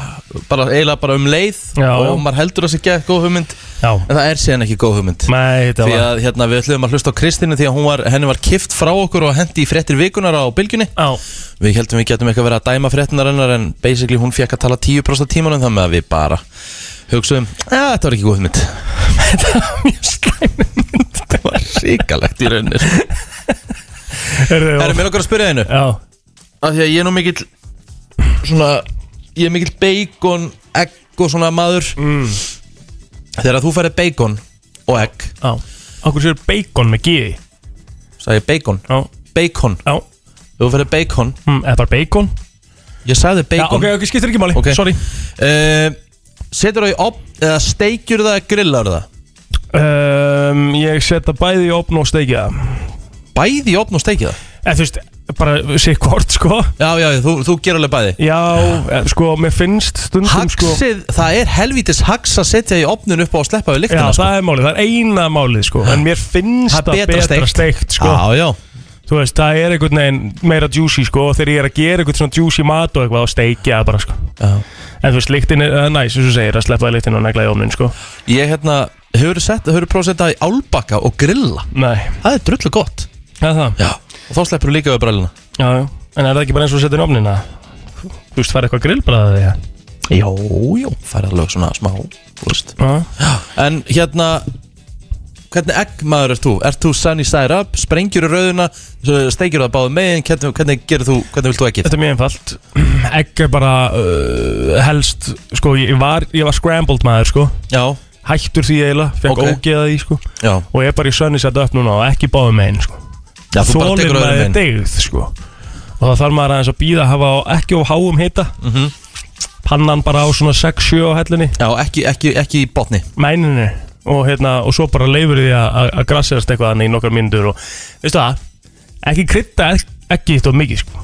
bara eiginlega bara um leið Já, og já. maður heldur að sé ekki að góð hugmynd Já, en það er síðan ekki góð hugmynd nei, þetta því var að hérna, við ætlum að hlusta á Kristínu því að hún var, henni var kift frá okkur og hendi í frettir vikunar á bylgjunni Já, við heldum við getum eitthvað verið að dæma frettinar hennar en basically hún fekk að tala 10% tímanum þannig að við bara hugsaðum, að þetta var ekki góð <laughs> hugmynd mjög slæm þetta var ríkalegt í <laughs> rauninni Það Herði, er og- mér okkur að spyrja einu Já, af því að ég er nú mikill svona, ég er mikill bacon, egg og svona maður mm, þegar þú færið bacon og egg já Okkur sér bacon með gíði sagði ég bacon, Já, bacon já, þú færið bacon, mm, eða bara bacon ég sagði Já, bacon ok, ok, skiptir ekki máli, Ok. sorry Eh, setur það í opn eða steikjur það, eða grillar það um, Ég setja bæði í opn og steikja það bæði í opn og steikja það Eða þú veist, bara sé hvort, sko já, já, já, þú, þú gerur alveg bæði Já, eh, sko, mér finnst stundum, sko Haxið, það er helvítis hax að setja í opnun upp á að sleppa við Já, lyktina sko. það er málið, það er eina málið, sko En mér finnst Það það er betra betra, steikt. steikt, sko Já, já, Þú veist, það er einhvern veginn meira juicy, sko Og þegar ég er að gera einhvern svona juicy mat og eitthvað Og steikja það bara, sko já. En þú veist, lyktin er uh, næs, eins og þú segir, að sleppa það lyktin og negla í ofnin, sko Ég hérna, hefur þú prófað að setja í álbakka og grilla Nei, Það er drullu gott það er það Já, og þá sleppur þú líka við bræluna Já, já, en er það ekki bara eins og að setja inn ofnin að Þú veist, fara eitthvað grillbræðið því að Jó, jó, það er alveg svona smá þú veist. En hérna Hvernig egg maður ert þú? Ert þú sunny side up, sprengjur í rauðuna svo steikir það báðu megin, hvernig, hvernig gerir þú hvernig vilt þú eggið? Þetta er mjög einfalt <clears throat> Egg er bara uh, helst Sko, ég var, ég var scrambled maður, sko Já, Hættur því eiginlega, fekk Ok. okay. ógeða því, sko já, Og ég er bara í sönni sett upp núna og ekki báðum megin, sko já þú bara tekur maður rauðuna megin degð, sko Og það þarf maður aðeins að býða að hafa á, ekki á háum hita Mhm. Pannan bara á svona 6-7 á hellunni Já, ekki, ekki, ekki í botni mæninu og, hérna, og svo bara leifur því að- að að grassirast eitthvað þannig í nokkar myndur og veistu það, ekki krydda ek- ekki eitt of mikið sko,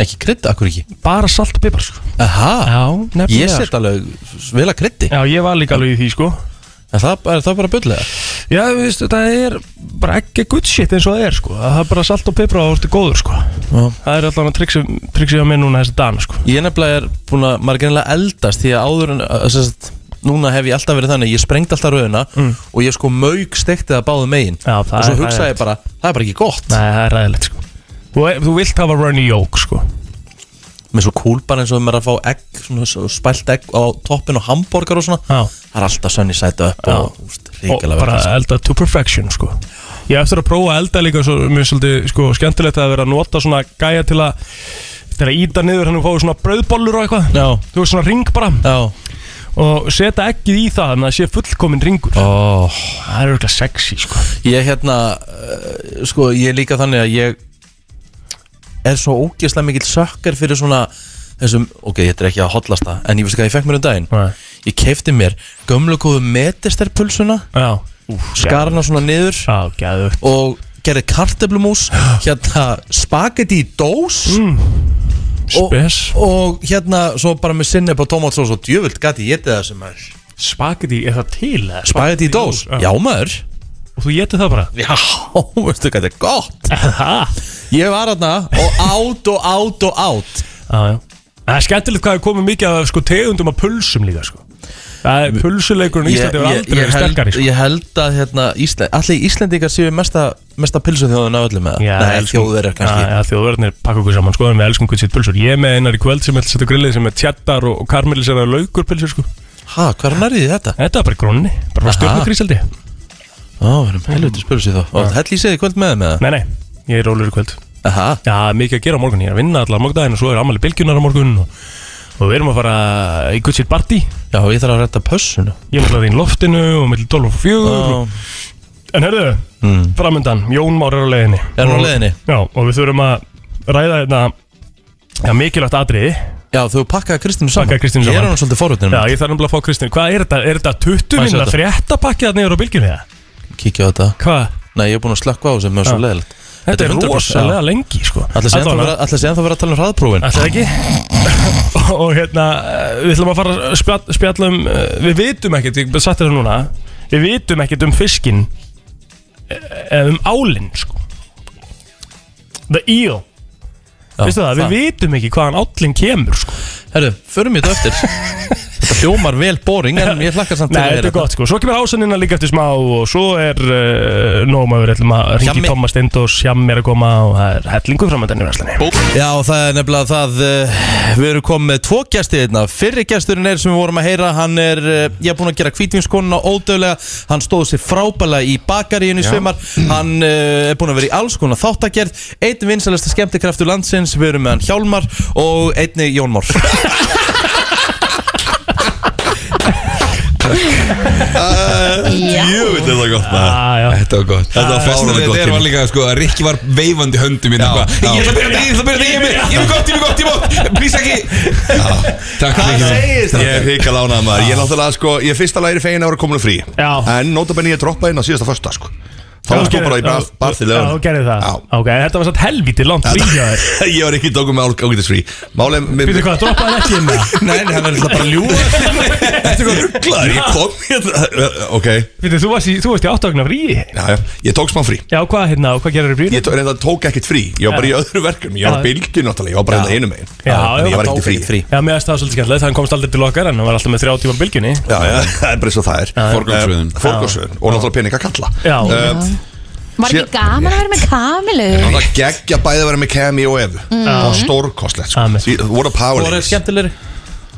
Ekki krydda, akkur ekki bara salt og pipar sko Aha, Já, ég nefnilega set sko. alveg vel að kryddi Já, ég var líka alveg í því sko En það er það bara bullega Já, veistu, það er bara ekki good shit eins og það er sko það er bara salt og pipar og það ertu góður sko Já. það er alltaf að triksi, triksi á mér núna þessi dana sko Ég nefnilega er búin að, maður er gennilega eldast því að áður en, að, sérst, núna hef ég alltaf verið þannig, ég sprengd alltaf rauðina og ég sko mauk stekti það báðu megin Mm. Já, það og svo er hugsaði ég bara, það er bara ekki gott Nei, það er ræðilegt sko Þú, þú vilt hafa runny yolk sko með svo cool bara eins og maður er að fá egg, svona svo spælt egg á toppin og hambúrgar og svona Já. það er alltaf sönni sæta upp Já. og úst, og ríkilega bara elda to perfection sko. ég á eftir að prófa að elda líka svo, mér er svolítið sko, skemmtilegt að vera að nota svona gæja til að til að íta niður hann og fá svona brauðbollur og eitthvað Já, þú veist svona ring bara já og setja ekkið í það þannig að það sé fullkominn ringur oh. það er auðvitað sexy sko. Ég hérna, uh, sko ég er líka þannig að ég er svo ógeðslega mikill sökkar fyrir svona þessum, ok, þetta er ekki að hollasta en ég veist ekki að ég fekk mér um daginn Nei. ég keifti mér gömlu góðu metesterpulsuna já, skar hana svona niður já, gæðu og gerði <gasps> karteblumús hérna spagetti í dós og, Mm. spes og hérna svo bara með sinni på tomatsós og djöfult gati ég getið það sem er spagetti, er það til? eða? spagetti í dós, já maður og þú getið það bara já, <laughs> veistu hvað þetta er gott Ha? ég var hérna og át og át og át Já, já. Það er skemmtilegt hvað er komið mikið af sko, tegundum af pulsum líka sko. Það er pulsuleikurinn í Íslandi var aldrei verið held, sterkari sko. ég held að hérna, Ísland, allir Íslendingar séu mesta, mesta pilsuþjóðun af öllum með Já, það Nei, elskum- þjóðverjar kannski Já, já, þjóðverðinir pakka okkur saman sko en við elskum hvernig sitt pulsur Ég er með einar í kvöld sem ætla að setja á grillið sem er tjattar og, og karmelisera laukur pulsur sko Hæ, hvað er nærðið þetta? Þetta var bara í gróninni, bara frá Aha. stjórnugrísaldi Ó, við erum um helviti spyrjus í þá Ah. Ó, hell í segði kvöld með með það Nei, nei, ég er rólur í kvöld Aha, Já, mikið að gera á morgun, ég er að vinna allar morgdaginn og svo er ammali bylgjunar á morgun og, og við erum að fara í good shit party já, ég þarf að retta pössuna Ég er alltaf í loftinu og mellir 12 og 4 Ó, En hörðu, mm. framöndan, Jón Már er á leiðinni Er hann á Og- leiðinni? Já, og við þurfum að ræða þetta Já, mikilvægt atriði Já, þú pakkaði Kristínu saman Pakkaði Kristínu Ég er saman. hann svolítið forvitnir Já, um ég þarf nefnilega að fá Kristinn Hvað er þetta? Er þetta 20 Hvað er minna þetta? fréttapakki að niður á bylgjunni? eða? Kíkja á þetta Hvað? Nei, ég er búin að slökka á þessu með svo Já. leiðilegt Þetta er 100% rosalega lengi, sko Ætla að segja ennþá vera- ætla að segja ennþá vera að tala um hraðprófin Alltaf ekki og, <laughs> og hérna, eh, við ætlum að fara að spjall, spjalla um eh, Við vitum ekkert, ég satt þetta núna Við vitum ekkert um fiskin Eða um álinn, sko The eel Já, Veistu það, við vitum ekki hvaðan állinn kemur, sko Herru, förum við þetta <laughs> eftir Þetta hljómar vel boring en ég hlakkar samt til Nei, þetta er gott sko Svo kemur ásanina líka eftir smá Og svo er uh, nómaður Við ætlum að ringi Hjammi. Thomas Stendos Hjam er að koma Og það er hellingu framöndan í verslunni Já, það er nefnilega það uh, Við erum komið með tvo gæsti hérna Fyrri gæsturinn er sem við vorum að heyra Hann er, uh, ég er búin að gera kvítvinskonuna ódöðlega Hann stóð sér frábælega í bakaríun í svimar Hann uh, er búin að vera í alls konar þáttagerð Einn vinsalesta skemmtikraftur landsins Við erum með hann Hjálmar Og einni Jón Mór Já, Jú, þetta var gott maður ah, já. Þetta var gott Þetta var Fárulega fárulega þetta er var gott líka sko að Rikki var veifandi höndum minna Já, já. Ég ætla að byrja þetta, ég ætla að byrja þetta, ég er með- ég er með gott, ég er með gott, ég er með gott Please ekki Takk fyrir segist Ég er hika lánað maður Ég er náttúrulega sko Ég er fyrsta læri fegin að vera komin á frí Já. En notabenni ég droppa inn á síðasta fösta sko Þá var sko bara í Já, barþið Já, þú gerði það Já. Ok, þetta var satt helvítið langt frí hjá þér <laughs> Ég var ekki dókum með ágætis frí Málið Býttu hvað, droppaði ekki inn <laughs> það Nei, nei, hann er alltaf bara að <laughs> ljúga Þetta er hvað rugglaður Ég kom hérna- Ok Býttu, þú varst í, þú varst í áttögnar frí Já, já Ég tók smá frí Já, hvað hérna, og hvað gerir frí? Ég tók, reynda, tók ekkert frí Ég var bara í öðru verkefni Ég Já. var á bylgju náttúrulega Ég var bara hérna einu megin Já, já, Þannig Ég var tók ekkert ekkert í frí frí. Já, mér aðstæða svolítið skemmt Það hann komst aldrei til okkar En hann var alltaf með þrjá tíma bylgjunni Já, já, <laughs> það er bara eins og það er Forgangsröðun. Eh, Forgangsröðun Og náttúrulega pening að kalla Já. Eh, var ekki Sér- gaman að vera með Já, kamilu Það geggja bæði að vera með Kemi og Evu Það var stórkostlegt sko. Mm. Amen. Því- What a power Hvor er ladies. skemmtilegri?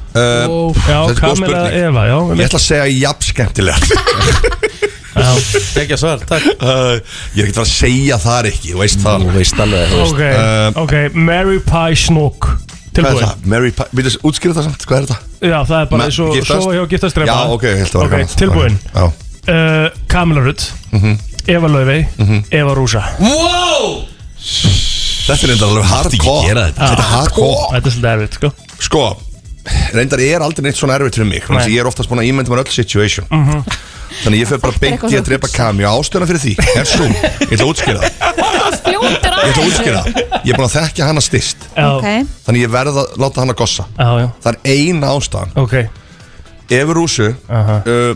uh, Já, Þetta er góð kamera spurning. Eva, já Ég ætla að segja jafn skemmtilegt <laughs> já. Gekja svar, takk uh, Ég er ekkert að fara að segja þar ekki Þú veist það Þú veist alveg, þú Ok, Eh, ok, Mary Pie Snook Hvað er Tilbúin það? Mary Pie Við þess útskýra það samt, hvað er það? Já, það er bara Ma- eins og giftast? Svo hjá giftastrefa Já, ok, ég held að Ok, vera gaman. Mhm. tilbúin Já uh, Kamila Rutt Eva Laufey Mhm. Eva Rúsa Þetta er reyndar alveg hardcore Þetta er hardcore Þetta er svolítið erfitt sko Sko, reyndar er aldrei neitt svona erfitt fyrir mig Þannig Nei. Mhm. að ég er oftast búin að ímynda mér öll situation Þannig að ég fer bara beint í að drepa Kemi og ástöðuna fyrir því er svo, ég ætla að útskýra það fljótur Ég ætla að útskýra það Ég er búin að þekkja hana styrst Já, ok, Þannig ég verð að láta hann að gossa já, já Það er eina ástæðan Ok, Efur Rúsu Aha. uh,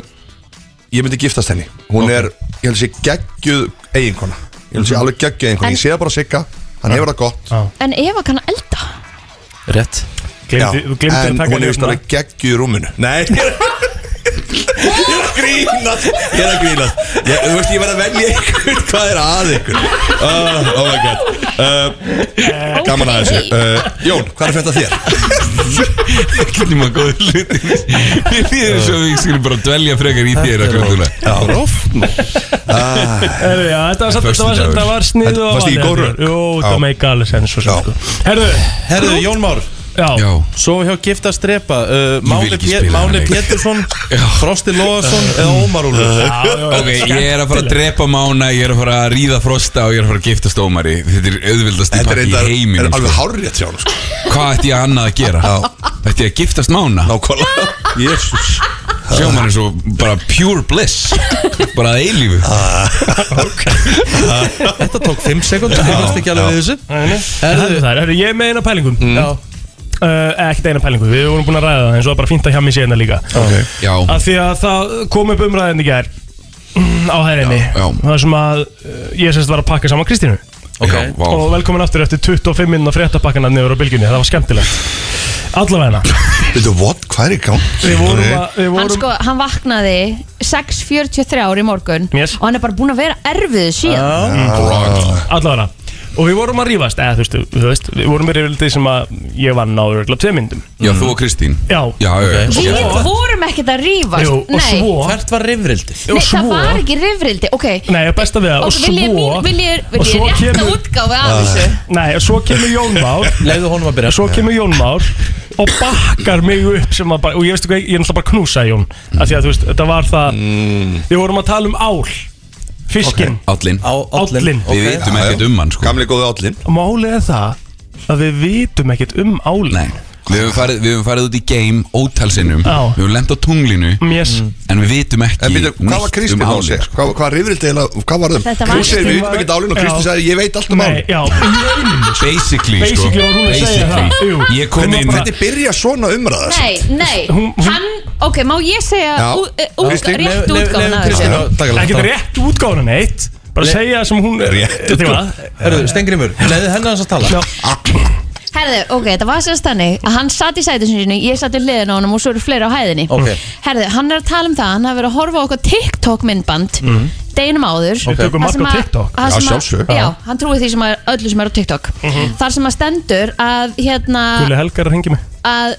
Ég myndi giftast henni Hún er, ég held að sé geggjuð eiginkona Ég held Mhm. að sé alveg geggjuð eiginkona Ég sé það bara að sigga Hann hefur það gott en Eva kann að elda Rétt glemdi, Já, þú glemdi að En taka hún er vist hérna. alveg geggjuð í rúminu <laughs> Nei Ég er að grínast Ég er að grínast ég, Þú veist, ég verð að velja ykkur <laughs> Hvað er að ykkur uh, Oh my god uh, Gaman að þessu uh, Jón, hvað er fyrir þetta þér? <laughs> Hvernig maður góður hluti Mér líður svo að ég skulle bara dvelja frekar í þér að kvöldulega Herðu, já, Þetta var satt, þetta var, Föstudagur. þetta var snið Þetta- og Ah, varstu í góru? Jú, þetta Já. meika alveg sens og svo Já. sko Herðu, Herðu, Jón Már já, Já, Svo hjá Gifta Strepa uh, Máni, ekki Pé- spila Máni þennan leik. Pétursson Frosti Lóðarsson eða Ómar Úlfur ok, ég er að fara að drepa mána Ég er að fara að ríða frosta og ég er að fara að giftast ómari Þetta er auðvildast í Þetta er pakki reyndar í heiminum er sko. alveg hárrétt hjá hann sko. Hvað ætti ég annað að gera? Ætti ég að giftast mána? Nákvæmlega Jésús Sjóman er svo bara pure bliss Bara að eilífu Þetta tók 5 sekundar Ég veist ekki alveg við þessu herðu það, herðu, ég er með eina pælingum mm. Já. Uh, ekkert eina pælingu, við vorum búin að ræða það en svo er bara fínt að hjá mig séna líka okay. Já, að því að það kom upp umræðin í gær mm, á hæðinni Já, já. það sem að uh, ég semst var að pakka saman Kristínu ok Já, vá. og velkomin aftur eftir 25 minna fréttapakkanar niður á bylgjunni, það var skemmtilegt allavegna, Veitu, what? Hvað er í Eh, gang? við vorum að við hann, vorum, sko, hann vaknaði 6.43 í morgun Yes. Ah. Mm. og hann er bara búin að vera erfið síðan allavegna og við vorum að rífast eða þú veist, þú veist við vorum með reyfildi sem að ég vann á örgulega tvei myndum Já, þú og Kristín já, Já, já, já Ok. Svo- Við vorum ekkert að rífast Jú, og Nei, svo Hvert var rifrildið? og Nei svo- það var ekki rifrildi Ok, nei, og besta við það og og vil ég, svo mín- vil ég, vil og ég svo rétta kemur- útgáfi af Ah. þessu nei, og svo kemur Jón Már <laughs> Leiðu honum að byrja svo kemur Jón Már og bakkar mig upp sem að bara, og ég veistu hvað, ég er náttúrulega bara að knúsa Jón af því að þú veist, þetta var það Mm. við vorum að tala um ál fiskinn, Állin Á állin Við vitum ekkert um hann sko Gamli góði állin málið er það að við vitum ekkert um álin Nei Við höfum farið, við höfum farið út í game ótalsinnum Já. Við höfum lent á tunglinu yes. En við vitum En ekki býttu, hvað um var Kristín þá að segja? sko. Hvað, hvað rifrildi eða, hvað var þeim? Þetta var- Hún segir, við vitum Kristín ekkert álinn og var- Kristín Já. sagði, ég veit allt um Nei, álinn já, Basically, sko. um Basically var hún að segja það, Basically. jú. Ég kom Hvernig inn bara- Hvernig byrja svona umræða? Nei, nei, Hún- hún- hann, ok, má ég segja Já. ú- eh, út- rétt útgáfan af þessu Kristín að taka ekki langt á rétt útgáðan neitt bara Le- segja sem hún Rétt Þetta var- Herðu, Stengrimur, leiðu hennar hans að tala Já. Herðu, ok, þetta var sérst þannig að hann satt í sætið sinni, ég satt við hliðin á honum og svo eru fleiri á hæðinni Ok. Herðu, hann er að tala um það, hann hafi verið að horfa á okkur TikTok myndband Mhm. deginum áður Við Mm. tökum Þar sem mark á að- TikTok. þar Já, sem að- sjálfsög. Já, hann trúið því sem að öllu sem er á TikTok Þar sem að stendur að hérna Mhm. Gulli Helgar er að hengja mig að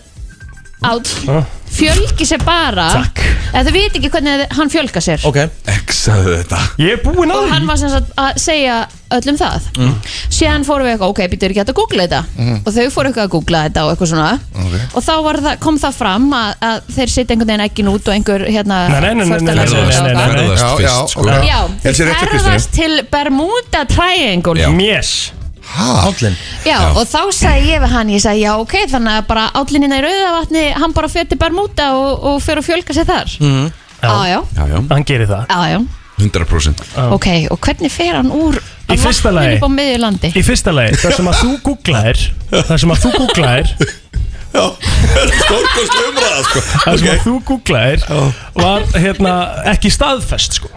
að Ah. fjölgi sér bara Takk. eða þau veit ekki hvernig þau- hann fjölga sér Ok, Exaðu þetta Ég er búinn að og hann því var sem sagt að segja öllum það Mm. síðan fórum við eitthvað, ok, býtur ekki hægt að googla þetta og þau fóru eitthvað að googla þetta og eitthvað svona Ok. og þá var það, kom það fram að, að þeir sitja einhvern veginn ekkin út og einhver hérna Nei, nei, nei, nei, nei, nei, förtalaði sig nei, nei, og nei, eitthvað. nei. Ferðast Já, já, fyrst sko. ok. Já, Er þessi þið rétt hjá Kristínu? ferðast til Bermuda Triangle Já. Yes Hæ? állin Já, og þá sagði ég við hann, ég sagði já ok, þannig að bara állinina í Rauðavatni, hann bara fyrir til Bermuda og, og fyrir að fjölga sér þar. Mm. Mhm. Já, já, Já, já, Hann gerir það já, já, 100% ok, og hvernig fer hann úr Í fyrsta lagi. upp á miðjulandi? Í fyrsta lagi, það sem að þú googlaðir Það sem að þú googlaðir Já, stórkost umræða, sko Það sem að þú googlaðir Var hérna ekki staðfest sko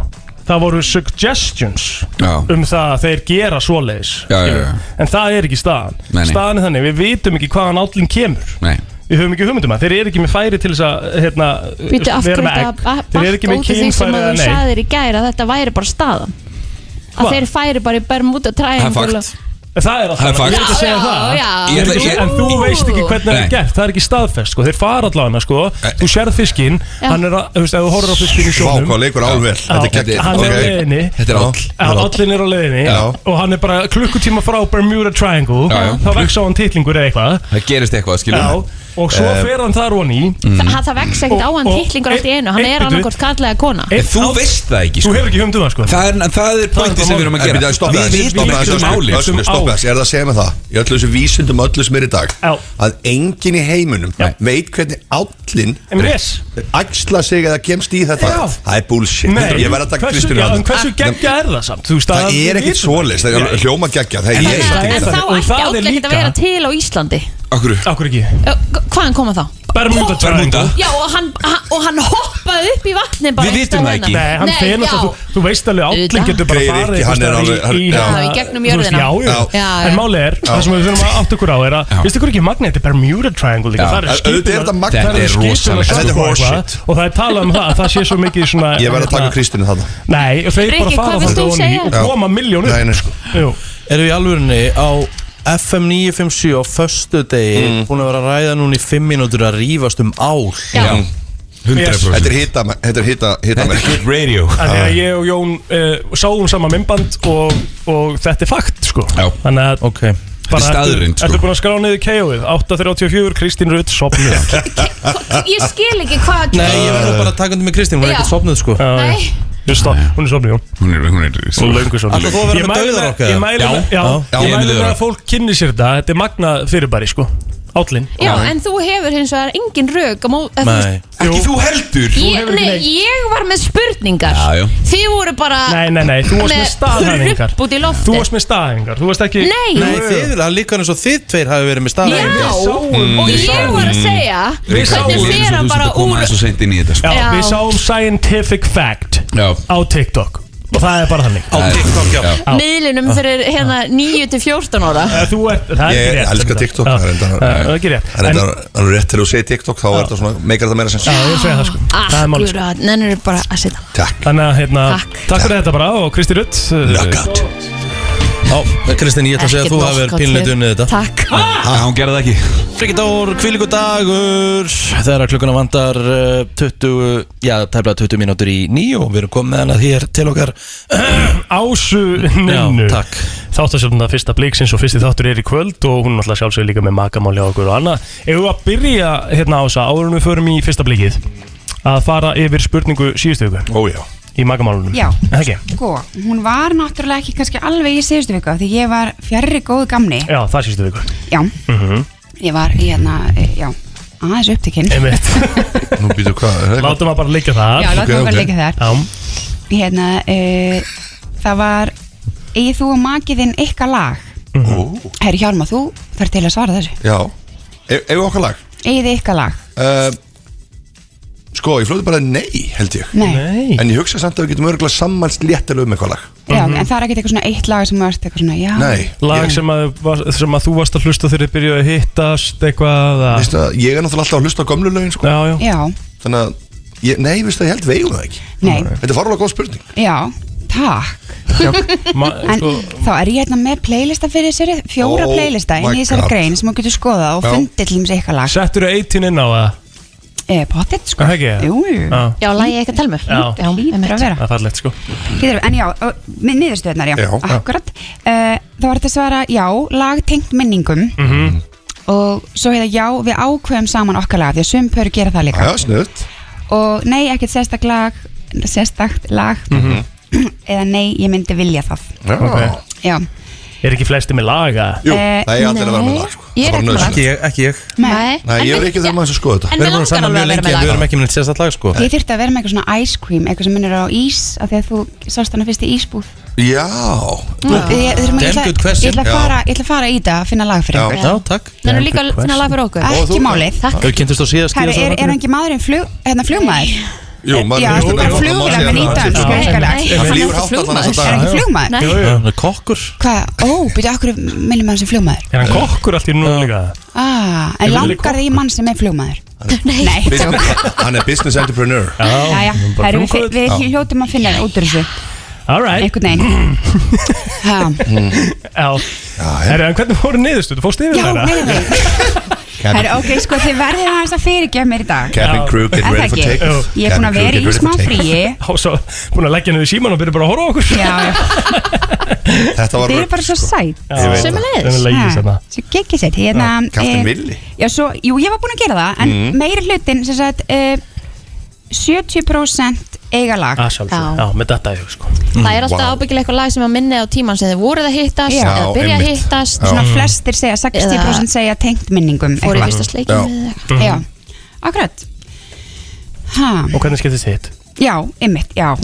Það voru suggestions Já. Um það að þeir gera svoleiðis Já, já, skilur. já. En það er ekki staðan Nei, nei. Staðan er þannig, við vitum ekki hvaðan állin kemur Nei Við höfum ekki hugmyndum að þeir eru ekki með færi til þess að hérna, Býtu af hverju vera með þetta egg ba- Þeir eru bakka ekki með út af því sem kynfæri að þú eða nei saðir í gæri að þetta væri bara staðan að Hva? þeir færi bara í Bermuda Það er Triangle fakt. Það er alltaf Það er fakt. Ég er ekki að segja Já, það já. Ég Ég er ekki, ætla- En þú veist ekki hvernig það Nei. er gert Það er ekki staðfest sko Þeir fara allavega sko Þú sérð fiskinn Já. Hann er að Þú veist, ef þú horfir á fiskinn í Vá, sjónum hvað leikur álvel Þetta er geggjað. Hann er á Ok. leiðinni Þetta er all Já, Allin er á leiðinni Já. Og hann er bara klukkutíma frá Bermuda Triangle Já, já. Þá vex á hann titlingur eða eitthvað Það gerist eitthvað, Eh. Mm. Já skiljum Og svo fer hann þar von í Þa- það vex ekkert á hann Og- og- titlingur allt í einu hann Ein- er bíddu. annarkort kallega kona Einn En þú áll- veist það ekki, Þú sko hefur ekki humdum það sko Það er, það er pointi sem við erum að En gera byrjaði, stoppa Við þessu, vitum stoppa ekki um þessu, álið Össur, stoppa þessu, er það að segja með það? Í öllu þessu vísundum, öllu sem er í dag Já. Að enginn í heiminum Já. veit hvernig állin En yes Æxla sig eða kemst í þetta Já. Það er bullshit Nei Ég verð að taka hversu- Kristínu já, að en Hversu geggja er það samt Þú veist, Það við er ekkert vitum það. svoleiðis, það er Nei. hljóma geggja Það er En ég það er samt en ekki þá það. Og ætti það er allir ekkert að líka- vera til á Íslandi Akkur Akkur ekki Ö, g- hvaðan koma þá? Bermuda Triangle já og hann, ha- og hann hoppaði upp í vatni bara Við einhvers vitum staðar það ekki. hérna. Nei, hann Nei, fer já. náttúrulega, þú, þú veist alveg Auðvitað. átlinn getur bara Greyið farið Rikki, hann er einhvers alveg- staðar í- hann- hérna- já, í gegnum þú veist, jörðina. Já, já, Já. Já, já. en máli er, það sem við þurfum að átt okkur á er að, Já. veistu hver ekki magnet er Bermuda Triangle líka, Já. það er Auðvitað er þetta skipin það eru magnað. Þetta er skipin rosalegt. að Þetta er sögum og horseshit. eitthvað, og það er talað um það, að það sé svo mikið svona Ég verð að taka hérna, Kristínu þarna Nei, og þeir bara Rikki, fara hvað vilst þetta þú ofan í segja? og koma miljónu Nei, nei, sko Erum við í alvörunni á FM 957 á föstu degi Búin að vera að ræða núna í 5 mínútur að rífast um ál já, 100% Þetta er hita, þetta er hita, hita Þetta er hit radio Þannig að ég og Jón uh, sáum sama mymband og, og þetta er fakt sko Já. Þannig að Ok bara Þetta er ertu- staðreynd, sko. Ertu búin að skrá niður KO-ið 8.34, Kristín Rutt, sopnið ég skil ekki hvað Nei, ég verður bara að taka undir með Kristín, hún er Já. ekkert sopnuð sko Nei. Justa, hún er sopnið, Jón Hún er, hún er Hún er löngu svo Ætlar þú að vera Ég með mæli dauðarokk eða? Ég mæli Já. með, já, Já. Ég Ég með mæli með að dauðarokk. fólk kynni sér þetta Þetta er magna fyrirbæri sko Állin já, en þú hefur hins vegar engin rök á mó- eða þú veist, Nei Ekki þú heldur Ég, hefur ekki nei, neitt. ég var með spurningar Já, já. Þið voru bara Nei, nei, nei, þú varst Með með staðhæfingar hrupp út í loftið. Þú varst með staðhæfingar, þú varst ekki Nei. Nei, þið, það líka eins og þið tveir hafi verið Já, með staðhæfingar Mm. og ég var að segja Við sáum Hvernig fer hann bara Þú koma úr aðeins og seint inn í þetta Já, sko. Já. við sáum scientific fact Já. Á TikTok Og það er bara þannig Á TikTok, já Já. miðlunum fyrir hérna 9 til 14 ára Eða Ah. Eh, Þú ert, það er Ég ekki rétt elska reyndar. TikTok, Já, það er reyndar- það er ekki rétt Það er En þetta alveg rétt til að þú segir TikTok þá er þetta svona, meikar þetta meira sens Já, ég segja það sko Það er málið sko. Akkurat, nennir bara að setja Takk Þannig að hérna, Takk. takk fyrir þetta bara og Kristi Rutt Knockout Já, Kristinn, ég ætla að segja að þú hafi verið pínleitið unnið þetta Takk Ha, hún gerði það ekki Frikidór, kvílíku dagur Þegar að klukkuna vandar eh, 20, já, tæfla 20 mínútur í nýju og við erum komið með hana hér til okkar Ásu Já, Ninnu takk Þáttastjórnum það fyrsta bleiksins og fyrsti þáttur er í kvöld og hún alltaf sjálfsögur líka með makamáli á okkur og annað Ef við að byrja hérna á þessa áður en við förum í fyrsta bleikið að fara yfir spurningu síðustu viku Ó já í makamálunum Já. Er það ekki? Sko, hún var náttúrulega ekki kannski alveg í síðustu viku því ég var fjarri góðu gamni Já, það er síðustu viku Já, Mhm. <laughs> ég var í hérna, eh, já, aðeins upptekinn Einmitt. Nú býtu hvað er það Látum að bara liggja það Já, látum ok, við bara ok. leika þar Já, <laughs> Hérna, uh, það var Egið þú og makiðinn ykkar lag? Ó, Herri Hjálma, þú þarf til að svara þessu Já E- Eigum við okkar lag Egið þið ykkar lag? Eh, Sko, ég flóti bara nei, held ég Nei, nei En ég hugsa samt að við getum örgulega sammælst léttilega um eitthvað lag Já, Mhm. en það er ekkert eitthvað svona eitt lag sem varst eitthvað svona, já Nei, Lag ég, sem að, var- sem að þú varst að hlusta þegar þið byrjuði að hittast eitthvað að... veistu að, ég er náttúrulega alltaf að hlusta á gömlu lögin sko. Já, já Já, Þannig að, ég, nei, veistu að ég held við eigum það ekki Nei. Þetta er farulega góð spurning já, takk Ma, En sko, þá er ég hérna með playlista fyrir þessari fjóra Oh playlista my inn í þessari God. grein sem þú getur skoðað og Já. fundið til þess eitthvað lag Settur þú 18 inn á það? eh, Pottet sko Er það ekki? Jú, jú. Já, Já, lagið eitthvað telmu Já. Hlýtur að vera. það er fallegt sko Getur, En já, ö, með niðurstöðnar, já, Já, já. akkurat uh, Þá var þetta að svara já, lag tengt minningum Mhm. Og svo heita já, við ákveðum saman okkar lag Því að sum pör gera það líka Já, snuðt Og nei, ekkert sérstakt lag Sérstakt lag Mhm. Mhm. Eða nei, ég myndi vilja það Já, Já, Er ekki flesti með laga? Jú, Eh, það er allir að vera með lag sko. ég er ekki Það bara með lag. nauðsynlegt. ég, Ekki ég Nei, Nei, ég er ekki þegar maður sem skoða þetta En við Við erum búin að langar saman alveg að vera mjög lengi með en við erum lag ekki með neitt sérstætt lag sko Ég þurfti að vera með eitthvað svona ice cream, eitthvað sem minnir á ís af því að þú sást hana fyrst í ísbúð Já, Ég- ég- þurfum að- Damn Ég ætla- good question. ég ætla að Já. fara- ég ætla að fara í þetta að finna lag fyrir Já. ykkur Já, takk Það er líka finna lag fyrir okkur Ekki þú- málið Þau kynntist á síðast Herri, er, er ekki maðurinn flug, hérna, flugmaður? jú, maður Já, ertu bara flugvél með nýtan Já, skræskalag? Nei. Það Hann er flýgur ekki hátt allan þess Er flugmaður. að dag hann ekki flugmaður? Nei. Hann er kokkur Hvað? Ó, byrja, okkur minnum hann sem flugmaður? Er hann kokkur allt í núna líka? Ah, en Ég vil langar þig í mann sem er flugmaður? Nei, Nei. Business- Hann er business entrepreneur Jæja, bara herri, við, flugmaður. við hljótum að finna út úr þessu Alright einhvern veginn Ha, Mm. Já Herru, en hvernig voru niðurstu? Þú fórst yfir Já, þeirra? meina þig Herri, ok, sko, þið verðið aðeins að fyrirgefa mér í dag Captain Crew, get Er það ready for ekki? takeoff Ég er búin að Captain Crew, vera get í ready for smá takeoff. fríi Há, svo búin að leggja niður síman og byrja bara að horfa á okkur Já, já, Þetta var sko. þið eru bara svo sæt Já, Sömuleiðis. Það er leiðis Ha, þarna Svo gekkið sér hérna, Captain eh, Willi. Já, svo, jú, ég var búin að gera það Mhm. En meiri hlutin, sem sagt eh, 70% eiga lag Já, sjálfsög Ah, Já, með þetta ég sko Það er alltaf Mm, Vá. ábyggilega eitthvað lag sem að minni á tíman sem þið voruð að hittast Já, eða byrja að einmitt. hittast Svona flestir segja, 60% segja tengt minningum fór í eitthvað. fyrsta Já. sleikin Já, akkurat Ha, Og hvernig skiptist þitt? já, ymmit, <laughs> já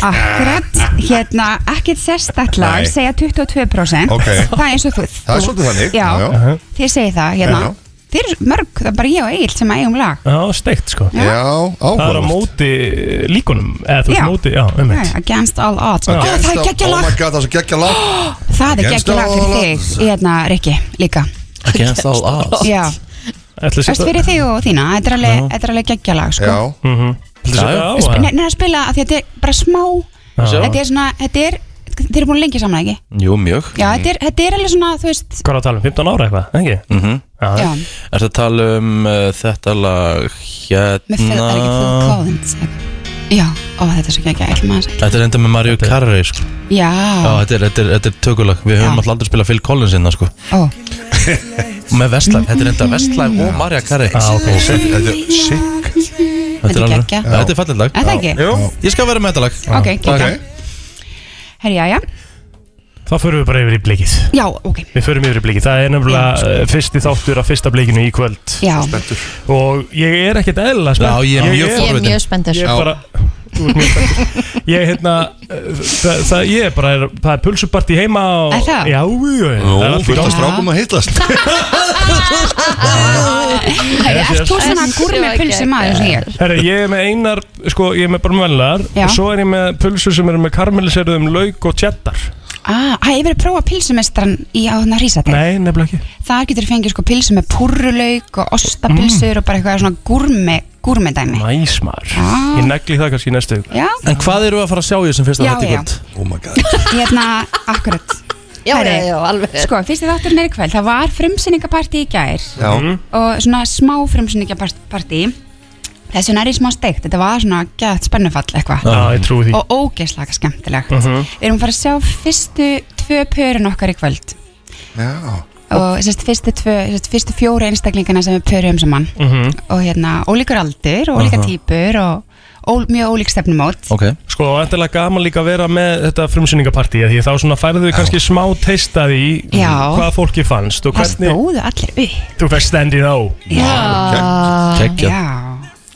Akkurat, hérna, ekkert sérstakt lag Nei. segja 22% Ok. Það er eins og þú Það er svolítið þannig Já, já. þið segið það, hérna Já. Þið eru mörg, það er bara ég og Egil sem að eigum lag Já, steikt sko Já. Það er Já, á áhugavert móti eh, líkunum Eða þú Já. veist móti, já, um Nei, Against all odds Ó, Against það er all- geggja Oh my lag god, það er svo geggja lag Það er Against geggja lag fyrir all þig odds. Hérna, Rikki, líka Against all odds Já, Ætli erst fyrir þig og þína Þetta er alveg, þetta er alveg geggja lag sko. Já, Sp- þig Nei, nei, að spila af því að þetta er bara smá Já. Þetta er svona, þetta er Þið eru búin lengi saman, ekki? Jú, mjög Já, þetta er, þetta er alveg svona, þú veist Hvað er að tala um? 15 ára eitthvað, ekki? Já, Já, Er að tala um uh, þetta lag með fyrir það er ekki Phil hérna Collins Já, ó, þetta er svo geggja, ekki maður sætt Þetta er enda með Mario Carrey sko. Já, Já, þetta er, þetta er, þetta er tökulag Við höfum Já. alltaf aldrei spilað Phil Collins innan sko. ó, <laughs> Með Vestlæf, þetta er enda Vestlæf og Mario Carrey Já, ok þetta er sick þetta er alveg- geggja Er Þetta er fallið lag það ekki? Ég skal vera með þetta lag Ok, geggja Ok. Herri, já, já Þá förum við bara yfir í blikið Já, <laughs> ok, Við förum yfir í blikið Það er Já, nefnilega eh, fyrsti þáttur af fyrsta blikinu í kvöld já Og ég er ekkert eðlilega spennt Já, ég er mjög Ég er forvitin. mjög spenntur Ég er bara Þú ert mjög spenntur. Ég er hérna það, það, Ég er bara, það er pulsuparti heima og, Er það? Já, jú, jú, Nú, það er allt í fullt af gangi. strákum að hitlast Herri, ert þú svona Þessi gúr með var pulsi maður sem ég er? Herra, ég er með einar, sko, ég er með bara með velnar Já. og svo er ég með pulsur sem eru með karmeliseruðum lauk og cheddar Ah, hæ, ég verið að prófa pilsumestran í á þarna rísati Nei, nefnilega ekki Þar getur þú fengið sko pilsu með purrulauk og Mm. ostapilsur og bara eitthvað svona gúrme, gúrme dæmi Næs maður, Já. ég negli það kannski í næstu hug Ah. Já, En hvað eru að fara að sjá í þessum fyrsta Oh Já, þetta í já. kvöld? Oh my god hérna, akkurat Já, Herri, já, já, alveg rétt. Sko, fyrsti þátturinn er í kvöld, það var frumsýningapartí í gær Já. Mhm. og svona smá frumsýningapartí þessi hún er í smá steikt, þetta var svona gett spennufall eitthvað Já, ég trúi því Mhm. og ógeðslega skemmtilegt Við erum fara að sjá fyrstu tvö pörin okkar í kvöld Já. og sérst, fyrstu, tvö, sérst, fyrstu fjóru einstaklingana sem við pörum saman Mhm. og hérna ólíkur aldur og ólíka típur og ól, mjög ólík stefnumót Ok Sko, það er endilega gaman líka að vera með þetta frumsýningapartí af Því þá svona færðu við kannski smá testað í Já. Hvað fólki fannst og Það hvernig stóðu allir upp Þú fæst standið á Já, Kekja Já,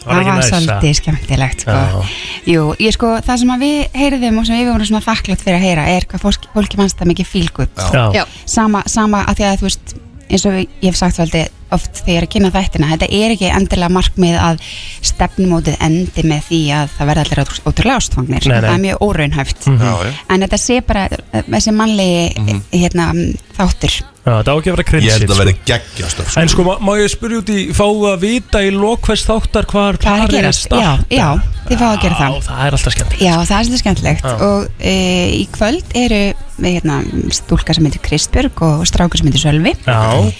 Var það ekki var næs, svolítið skemmtilegt Já. sko. Jú, ég sko, það sem að við heyrðum og sem við vorum svona þakklátt fyrir að heyra er hvað fólki, fólki mannst það mikið fílgut Já, já, sama, sama að því að þú veist eins og ég hef sagt veldi oft þegar ég er að kynna þættina, þetta er ekki endilega markmið að stefnumótið endi með því að það verða allir ótrú- ótrúlega ástfangnir Nei, Mhm. nei. það er mjög óraunhæft Já, já. en þetta sé bara þessi mannlegi Mhm. hérna, þáttur það á ekki að vera Ég held að krinsitt þetta sko. verði geggjastöf En sko, má, má ég spyrja út í Fáðu að vita í lok hvers þáttar hvar hvað er að parið gerast? Já, startar? já, þið fáið að gera það Já, það er alltaf skemmt Já, það er svolítið skemmtilegt Já. og e, í kvöld eru e, hérna, stúlka sem heitir Kristbjörg og strákur sem heitir Sölvi Já,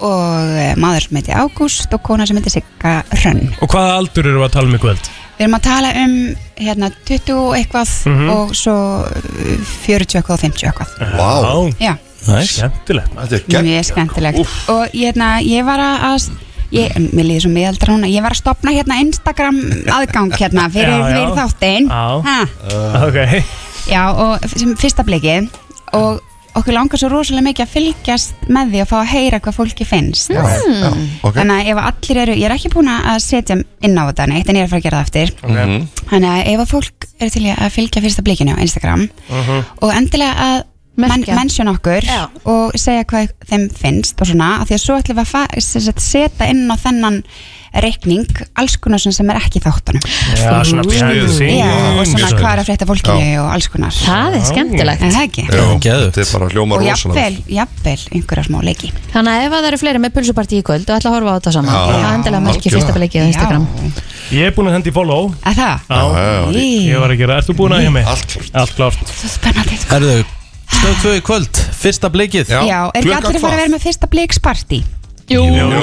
og e, maður sem heitir Ágúst og kona sem heitir Sigga Hrönn. og hvaða aldur eru að tala um í kvöld? Við erum að tala um hérna 20 og eitthvað Mhm. og svo e, 40 eitthvað og 50 eitthvað. Vá. Já, Næs skemmtilegt Þetta er gegn. mjög skemmtilegt og hérna ég var að að- Ég, mér líður svo miðaldra núna, ég var að stopna hérna Instagram aðgang hérna <laughs> fyrir, Já, já. fyrir þáttinn Já. Ha. Ok, Já, og sem fyrsta blikið og okkur langar svo rosalega mikið að fylgjast með því og fá að heyra hvað fólki finnst Hmm. Já, já, ok. þannig að ef allir eru, ég er ekki búin að setja inn á þetta neitt en ég er að fara að gera það eftir Mhm. þannig að ef að fólk eru til í að fylgja fyrsta blikinu á Instagram Mhm. og endilega að men Merkja. mention okkur Já. og segja hvað þeim finnst og svona, af því að svo ætlum við að fa- sem sagt setja inn á þennan reikning alls konar svona sem er ekki í þáttunum já, svona behind the scenes Já, og svona hvað er Svo- að frétta fólkinu og alls konar það er skemmtilegt En það ekki Já, Geðvegt. þetta er bara hljóma og rosalega. jafnvel, jafnvel einhverja smá leiki Þannig að ef að það eru fleiri með pulsupartí í kvöld og ætla að horfa á þetta saman Já. Það er endilega merki Algjörlega. fyrsta bleikið á Instagram Ég er búin að hendi í follow að það, Já, já, já. Ég var að gera, ert þú búin að hjá mig? Allt klárt. Allt klárt svo spennandi sko. Herðu Stöð 2 í kvöld Fyrsta blikið Já. já, er ekki Klukkan allir að fara hvað? að vera með fyrsta bliksparti Jú, Jú,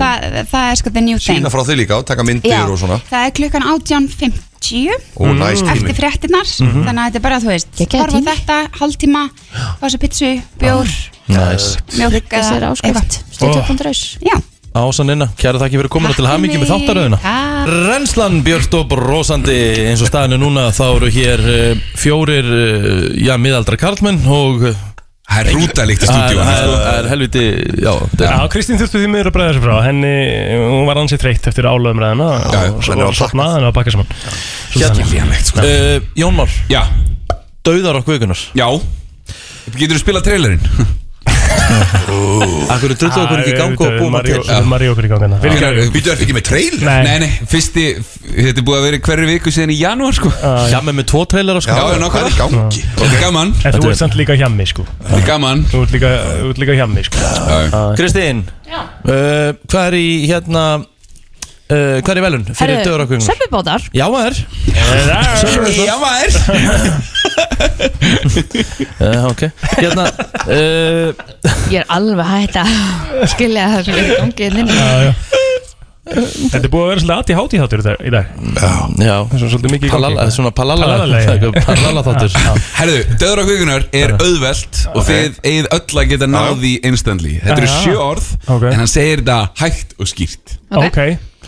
Þa, það er sko the new thing Sýna frá þig líka og taka myndir já, og svona. það er klukkan 18.50 Ó, næst tími. Mhm. eftir fréttinnar þannig að þetta er bara, þú veist, Geggjaður horfa á tími. þetta hálftíma, fá þessu pizzu, bjór Næs mjölk þessi er áskrift Styrkja.is já, Ásan inna Kjæra þakki fyrir komin og til hamingi með þáttaröðina Takk. Renslan Björnt og brosandi eins og staðinu núna þá eru hér eh, fjórir eh, já, miðaldra karlmenn og eh, Það er rútalíkt í sko. það er- stúdíu það er- það er helviti já, þetta Já, er- Kristín þurftu því miður að bregða sér frá Henni, hún var ansið þreytt eftir álöfum ræðina Já, já, og henni var svo sopnaði henni að bakka saman Svo Hérna. þannig. Eh, Jón Már, Sko. Já, dauðar okkur vikunar já Getur þú spilað trailerinn? <laughs> Akkur er drullu okkur ekki í gangu og búum að Maríu- til Maríu okkur í hérna. gangana Fyrir Fyrirgefðu. Býtu eftir ekki með trailer? Nei. Nei, nei, fyrsti Þetta er búið að vera í hverju viku síðan í janúar sko Hjá með með tvo trailera sko Já, Já, já, nokkuð. hvað er í gangi? Þetta er gaman, En Þetta þú er- ert samt líka hjá mig sko þetta er gaman Þú ert líka, þú ert líka hjá mig sko Kristín, uh, hvað er í hérna uh, hvað er í velun fyrir dauðar okkur vikunar? Söpubótar Já, maður Já, maður <laughs> uh, Ok, hérna uh, Ég er alveg hætt að skilja það sem er í gangi hérna þinni Þetta er búið að vera svolítið aðti háti hátur í dag Já, Svo svolítið mikið í gangi palala, svona palala <laughs> Palala, já. palala þáttur Herðu, döður á kvíkunar er auðvelt og þið eigið öll að geta náði instantly Þetta eru Já. sjö orð Ok. en hann segir þetta hægt og skýrt Ok,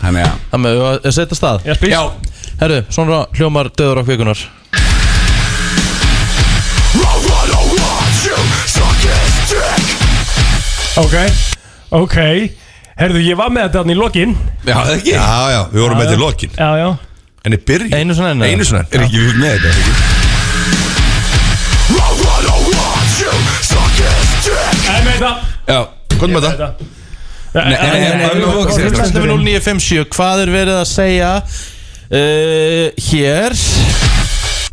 Þannig að Það með að setja stað ég spýst Já, Herru, svona hljómar döður okkur vikunar Ok, ok Herðu, ég var með þetta hann í lokin já, það ekki Já, já, við vorum með til lokin Já, já En þið byrjum Einu svona enn Einu svona Er ekki við með þetta? er Ekki? En með það Já, Hvernig með það? Þetta Nei, nei, nei, nei, nei, ok, Þetta strax. er 0957, hvað er verið að segja uh, Hér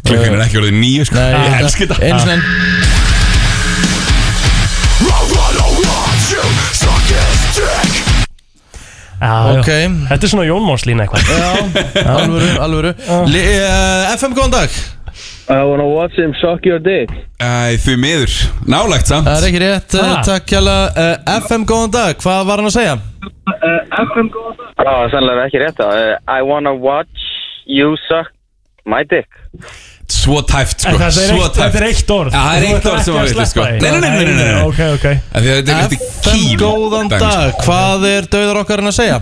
klukkan er ekki orðið nýju sko Nei, Ég elski þetta Einu svona enn Ok, <laughs> Þetta er svona Jónmánslína eitthvað eh, já, alvöru, alvöru uh. uh, FM, góðan dag I wanna watch him suck your dick Æ, því miður, nálægt samt Það er ekki rétt, uh, Ha? takk hjá uh, FM góðan dag, hvað var hann að segja? Eh, Já, sannlega ekki rétt uh, Eh, I wanna watch you suck my dick Svo tæft, sko En Eh, það er Svo eitt, þetta er eitt orð Já, það er Þú eitt ert orð sem ekki að vita, sleppa sko því. Nei, nei, nei, nei, nei, nei. Ok, ok Af Því að þetta er ekki FM góðan dag, hvað er döður okkar hann að segja?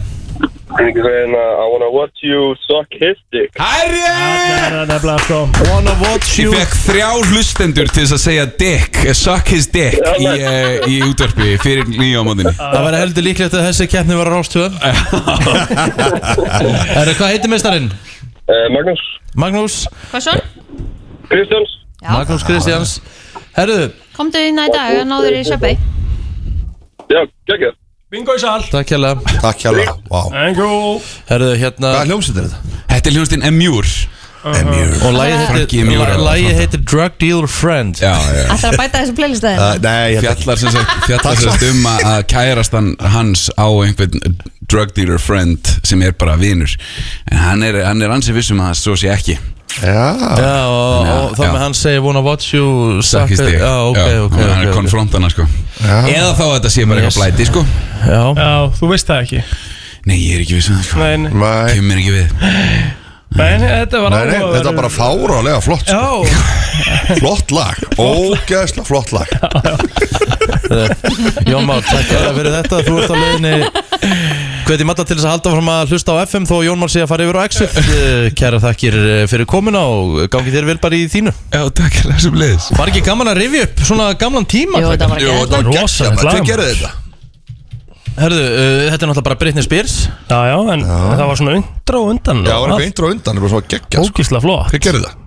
uh, I wanna watch you suck his dick Herri! Það er nefnilega, sko Wanna watch Ég you fekk þrjá hlustendur til þess að segja dick, eh, suck his dick í, eh, í útvarpi fyrir nýja á móðinni Það væri heldur líklegt að þessi keppni var á rástöðum Erðu, hvað heitir meistarinn? uh, Magnús Magnús, Hvað svo? Kristjáns Já, Magnús Kristjáns Herðu, komdu inn í dag og náður í Söpvei Já, geggja Bingo í sal takk hjá Takk hjá það Vá Bingo Herðu, hérna Hvað hljómsið er þetta? Þetta er hljómsdinn Emjur Emjur Og lagið Frankie heitir, Mjúra. la- lagið heitir Drug Dealer Friend Já, já Ætlar að bæta þessu playlistæði Uh, Nei, ég held ekki Fjallar sem sagt, fjallar sem sagt um að að kærastan hans á einhvern drug dealer friend sem er bara vinur en hann er, hann er ansið vissum að það svo sé ekki Já Já, og, og þá Já. með hann segja Wanna watch you suck Sakkist it- þig Já, ok, ok, Hann ok, er ok konfront hana sko Eða þá að þetta sé bara eitthvað blæti sko Já, Já, þú veist það ekki Nei, ég er ekki vissum það sko Nei, nei, Nei, Kemur ekki við nei þetta var nei, nei, áhugaverður- þetta er bara fárálega flott sko. Já, <laughs> Flott <laughs> lag, ógæðslega flott lag Jón Már, takk hella fyrir þetta Þú ert á leiðinni Hveti matta til þess að halda fram að hlusta á FM Þó að Jón Már sé að fara yfir á Exit Eh, Kæra þakkir eh, fyrir komuna Og gangi þér vel bara í þínu Já, takk er þessum leiðis Var ekki gaman að rifja upp svona gamlan tíma? Jú, þetta var Jú, ekki þetta var Rosalegt geggjað, lag, hver maður. gerði þetta? Herðu, uh, þetta er náttúrulega bara Britney Spears já, já, en það var svona undra og undan Já, það var eitthvað intro undan, það var svo geggjað sko. Ógísla flott Hver gerði það?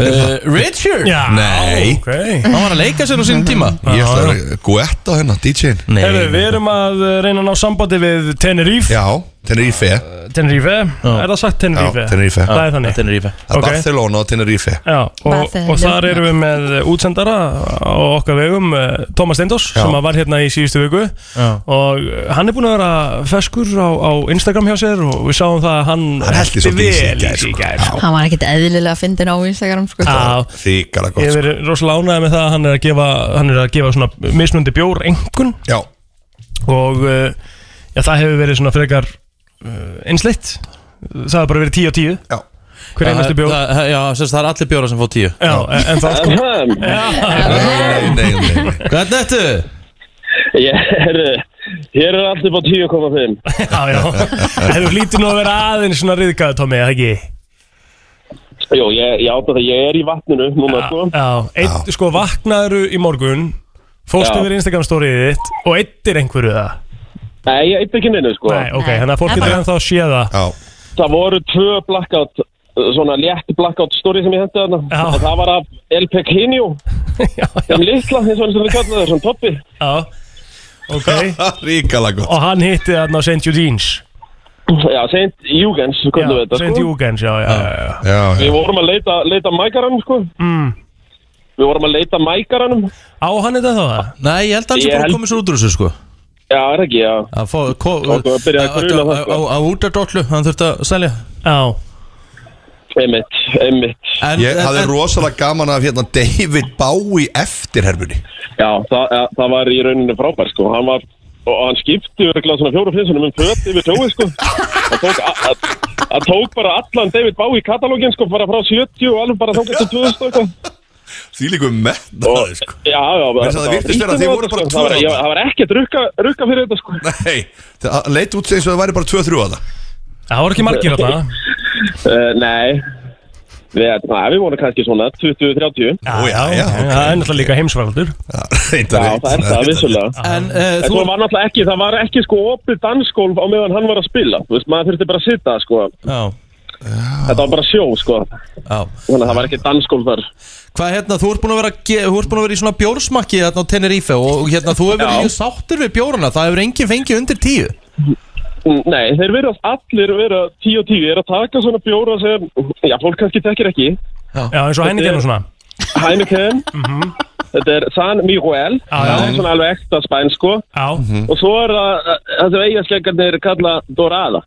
uh, Richard Já, Hérna. Nei. ok Hann var að leika sér á sínum tíma Ég ætla að vera Guetta hérna, DJ-in Nei Hefur, við erum að uh, reyna að ná sambandi við Tenerife Eh, Já, Tenerife Tenerife, er það sagt Tenerife? Já, Tenerife. Það er þannig Þetta er rífa Það er Ok. Barcelona og Tenerife Já, og, Barcelona. og þar erum við með uh, útsendara á okkar vegum uh, Tómas Steindós sem að var hérna í síðustu viku Já. og uh, hann er búin að vera feskur á, á Instagram hjá sér og við sáum það að hann Hann hellti hellti svolítið í sig í vel gær, sig sko. gær sko. Hann var ekkert eðlilega að fyndin á Instagram sko. Já, Þýkala ég gott hef sko. verið rosalega ánægð með það að hann er að gefa, hann er að gefa svona mismundi bjór engun Já, og uh, já, það hefur verið svona frekar uh, einsleitt það hefur bara verið 10 á 10 já hver einasti <laughs> bjór Það- það- Eh, Já, sem sagt, það er allir bjóra sem fór tíu já, en, en það sko Nei, nei, nei, nei, nei. Hvernig ertu? Ég er, uh, hér er allt upp á 10,5 já, já hefur lítið nú að vera aðeins svona riðgæðu Tómi, eða ekki Jó, ég, ég átta það, ég er í vatninu núna, sko já, eitt, sko vaknaðuru í morgun fórstu Já. yfir Instagram storyið þitt og eittir einhverju það Nei, ég eitthvað ekki neinu, sko nei, ok, Nei. þannig að fólk Það getur bara- ennþá að sé það Já, Það voru tvö blackout, uh, svona létt blackout story sem ég hendi þarna Já. Og Það var af El Pequeño, <laughs> já, já, þeim litla, eins og hann sem við kallaði þessum toppi já, ok ríkala gott og hann hitti þarna á St. Eugene's Já, Saint Júgens, Já, hvernig við þetta, St. sko Eugene's, já, já, já, já. Já, já Við vorum að leita, leita mækaranum, sko Mm. Við vorum að leita mækaranum á hann þetta þá það Nei, ég held að hann sem Ég bara held- komið sér út úr þessu sko Já, er ekki, já Að fá, ko, Og þú byrjaði að gruna það, sko. á, á útadollu, hann þurfti að selja já, Einmitt, einmitt en, Ég hafði en- rosalega gaman af hérna David Bowie eftirhermunni Já, það, ja, það var í rauninu frábær sko. hann var, og hann skipti örgulega svona fjóru flinsunum um föt yfir sjói sko. það tók, a- a- það tók bara allan David Bowie katalógin sko, bara frá 70 og alveg bara þangast til 2000 og eitthvað. Því líkum metnaði sko Já, já, bara- Veist að það var virtist vera að þið ýtum á voru þetta, bara sko. það var, tvö ég, þarna. það var ekkert rukka, rukka fyrir þetta sko. Nei, það leit út eins og það væri bara 2-3 að það það voru ekki margir <laughs> þarna uh, Nei Við, na, við vorum kannski svona 20-30 Já, Ó, já, já, ok. Það er náttúrulega líka heimsvaraldur Já, Já, það er það, vissulega En uh, En þú svo var náttúrulega ekki, það var ekki sko opið dansgólf á meðan hann var að spila Þú veist, maður þurfti bara að sitja sko Já, Þetta var bara sjó sko já Þannig að það var ekki dansgólf þar Hvað hérna, þú ert búin að vera, ge- þú ert búin að vera í svona bjórsmakki hérna á Tenerife og hérna, þú Já. hefur verið mjög sáttur við bjórana Það hefur enginn fengið undir tíu Mm, Nei, þeir verðast allir vera 10 og 10 er að taka svona bjóra sem já, fólk kannski tekir ekki Já, eins og henni genið svona Heineken Þetta er San Miguel Mhm. Já, já. það er svona alveg ekta spænsko Já, eh, og svo er það það sem eigasleikarnir kalla Dorada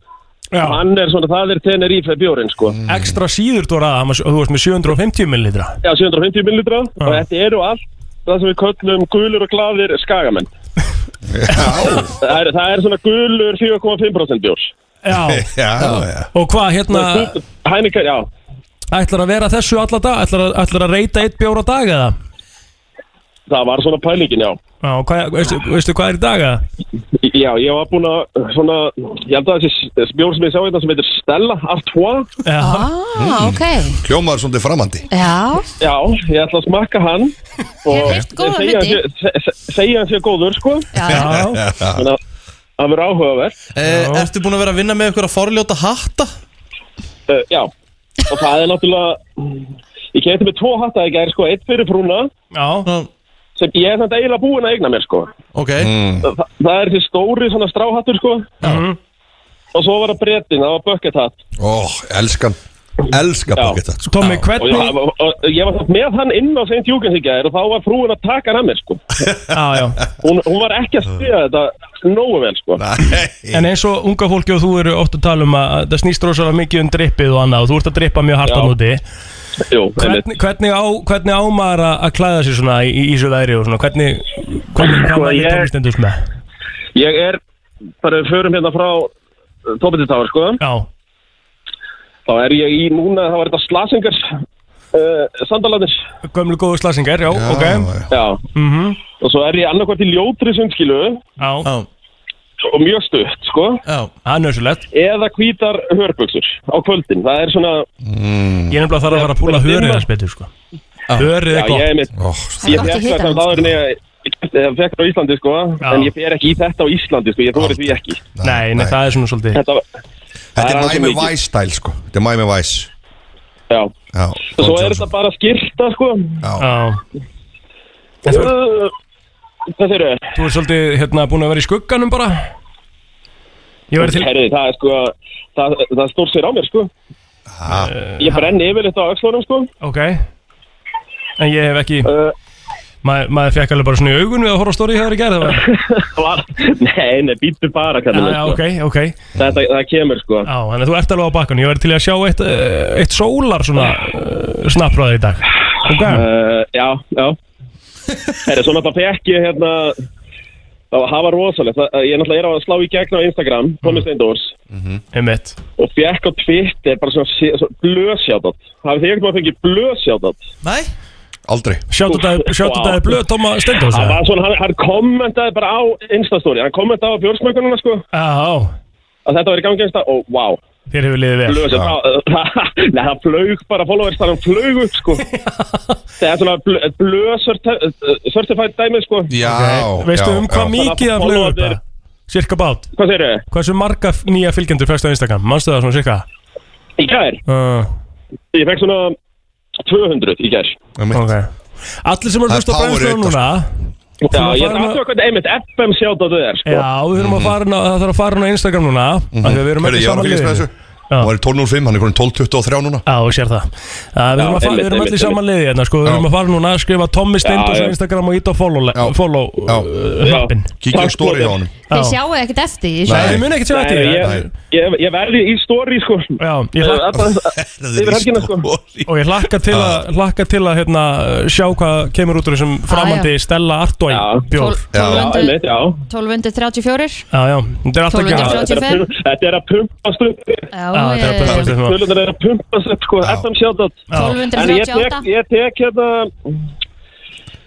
Já. hann er svona, það er Tenerife bjórin sko Ekstra síður þú að þú varst með 750 millilitra Já, 750 millilitra og þetta eru allt það sem við köllum gulur og glaðir skagamenn það, er, það er svona gulur 4,5% bjór Já, <laughs> Já, já og hvað hérna Hæningkar, já ætlar að vera þessu alla dag ætlar að, ætlar að reyta eitt bjór á dag eða það var svona pælingin, já Já, og hvað, veistu, veistu hvað er í dag eða Já, ég var búinn að svona, ég held að þessi s- bjór sem ég sá hérna sem heitir Stella Artois Já, Ah, ok, Hljómaður svolítið framandi já, Já, ég ætla að smakka hann Ég og hef heyrt góða segja hluti. hann sé- se- se- segja hann sé góður, sko <laughs> já, já. já, <laughs> þannig að það verður áhugavert Eh, Ertu búin að vera að vinna með ykkur að forljóta hatta? uh, Já, og það er náttúrulega ég kefti með tvo hatta í gær, sko, eitt fyrir frúna já, Mm, sem ég er þannig eiginlega búinn að eigna mér, sko Ok, Mm. Þa, það er þessi stóri svona stráhattur, sko Mhm. og svo var það brettin, það var bucket hat Ó, elskan Elska Já. bóketta sko. Sko, Tommi, og ég, hvernig og, og, ég var samt með hann inn á St. Júkens í gær og þá var frúin að taka hann að mér sko. <laughs> Já, já, hún, hún var ekki að styða þetta nógu vel sko. en eins og unga fólki og þú eru oft að tala um að að það snýst rosalega mikið um drippið og annað og þú ert að drippa mjög hart á Já. núti Jú, einmitt. hvernig, hvernig, á, hvernig á maður að að klæða sér svona í, í þessu væri og svona hvernig hvernig Sko, hvað maður ég- í tónlistendus með ég er bara við förum hérna frá Tópetitáður sko. Já, þá er ég í núna það var þetta slasingars uh, sandalarnir gömlu góðu slasingar, já, ok Já. Mhm. og svo er ég annarkvært í ljótri sundskilu Já, já, og mjög stutt sko. já það er nöðsulegt eða hvítar hörbuksur á kvöldin það er svona Ég er nefnilega þarf að fara að púla hörið hans betur sko Hörið já, er ég, gott er mitt, Ó, ég Gott í fekk það hitanum, samt áður en ég ég fekk það á Íslandi sko Já. en ég fer ekki í þetta á Íslandi sko, ég þóri því ekki Nei, nei, það er svona svolítið þetta, var- Þetta það er er Miami mikið. Vice stæl sko Þetta er Miami Vice já Já, og Don svo er Johnson. þetta bara skyrta sko Já, Já En þú, Uh, hvað þeir eru? þú er svolítið hérna búin að vera í skugganum bara Ég væri til Herri, það er sko það, það stór sér á mér sko Eh, ég brenni yfirleitt á öxlunum sko Ok En ég hef ekki uh, Maður maður fekk alveg bara svona í augun við að horfa á stóri í hæðri gerð var, nei, nei, býttu bara Já, kallum, já, sko. ok, ok Já, þetta, það kemur sko þannig að þú ert alveg á bakkanum Ég væri til í að sjá eitt, eh, eitt sólar svona uh, snappráðið í dag Ok uh, já, já herri, svo náttúrulega fekk ég hérna það var- það var rosalegt Það- ég náttúrulega er að slá í gegn á Instagram Mm. Tommy Steindors Mhm. Einmitt og fekk á Twitter bara svona, sé- svona blösjátat hafið þið ekkert maður fengið blösjátat Nei, aldrei Sjáttu þetta er blöð Tóma Steindós það eða? var svona, hann, hann kommentaði bara á Instastory, hann kommentaði á bjórsmökununa sko Já, já að þetta var í gangi einsta og vá, wow, Þér hefur liðið vel blöðsjátt Nei, það <laughs> flög bara followers þar hann flög upp sko það er svona blöðsörtified dæmi sko Já, Veistu já, um hvað já. mikið það flögur upp það? Cirka bát hvað segir þau? Hversu marga f- nýja fylgjendur fæst á Instagram? Manstu það svona cirka? Í gær, Uh, ég fekk svona 200 í gær ok Allir sem eru Það að hlusta á er power sko. brennstöðum í þetta, núna Já, Þú ég farin að- ætla hvað einmitt FM sjátt á þau er sko Já, við Mhm. þurfum að fara inn á- Það þarf að fara inn á Instagram núna af því að Við erum Hörru, Mhm. ekki ég var saman að fylgjast með liði þessu Hún var í 12.05, hann er konin 12.23 núna Já, þú sér það uh, Við erum, einmitt, að fara, við erum einmitt, allir saman liði hérna sko Við erum að fara núna að skrifa Tommi Steindós Já, á já. Instagram og ít á follow, Já. follow Já. uh, hrappin Kíkja á Takk, story Blóður. á honum Já. Þið sjáu ekkert eftir því Nei. Nei, við munum ekkert sjá Nei, eftir því ég, Nei. ég, ég verði í story sko Já, ég hlakka Þetta- <laughs> Yfir helgina, sko. og ég hlakka til Ah. að, hlakka til að hérna, sjá hvað kemur út úr þessum framandi Stella Artoy Já. bjór Já. Já, einmitt, já 1234 Já, já, þetta er alltaf ekki Já, að 1235. Þetta er að pum- þetta er Já, að sko. pumpast upp Já, þetta er að ég- pumpa þessu svona. Tölunar er að pumpast upp sko FM sjátt En ég tek, 1238 ég tek hérna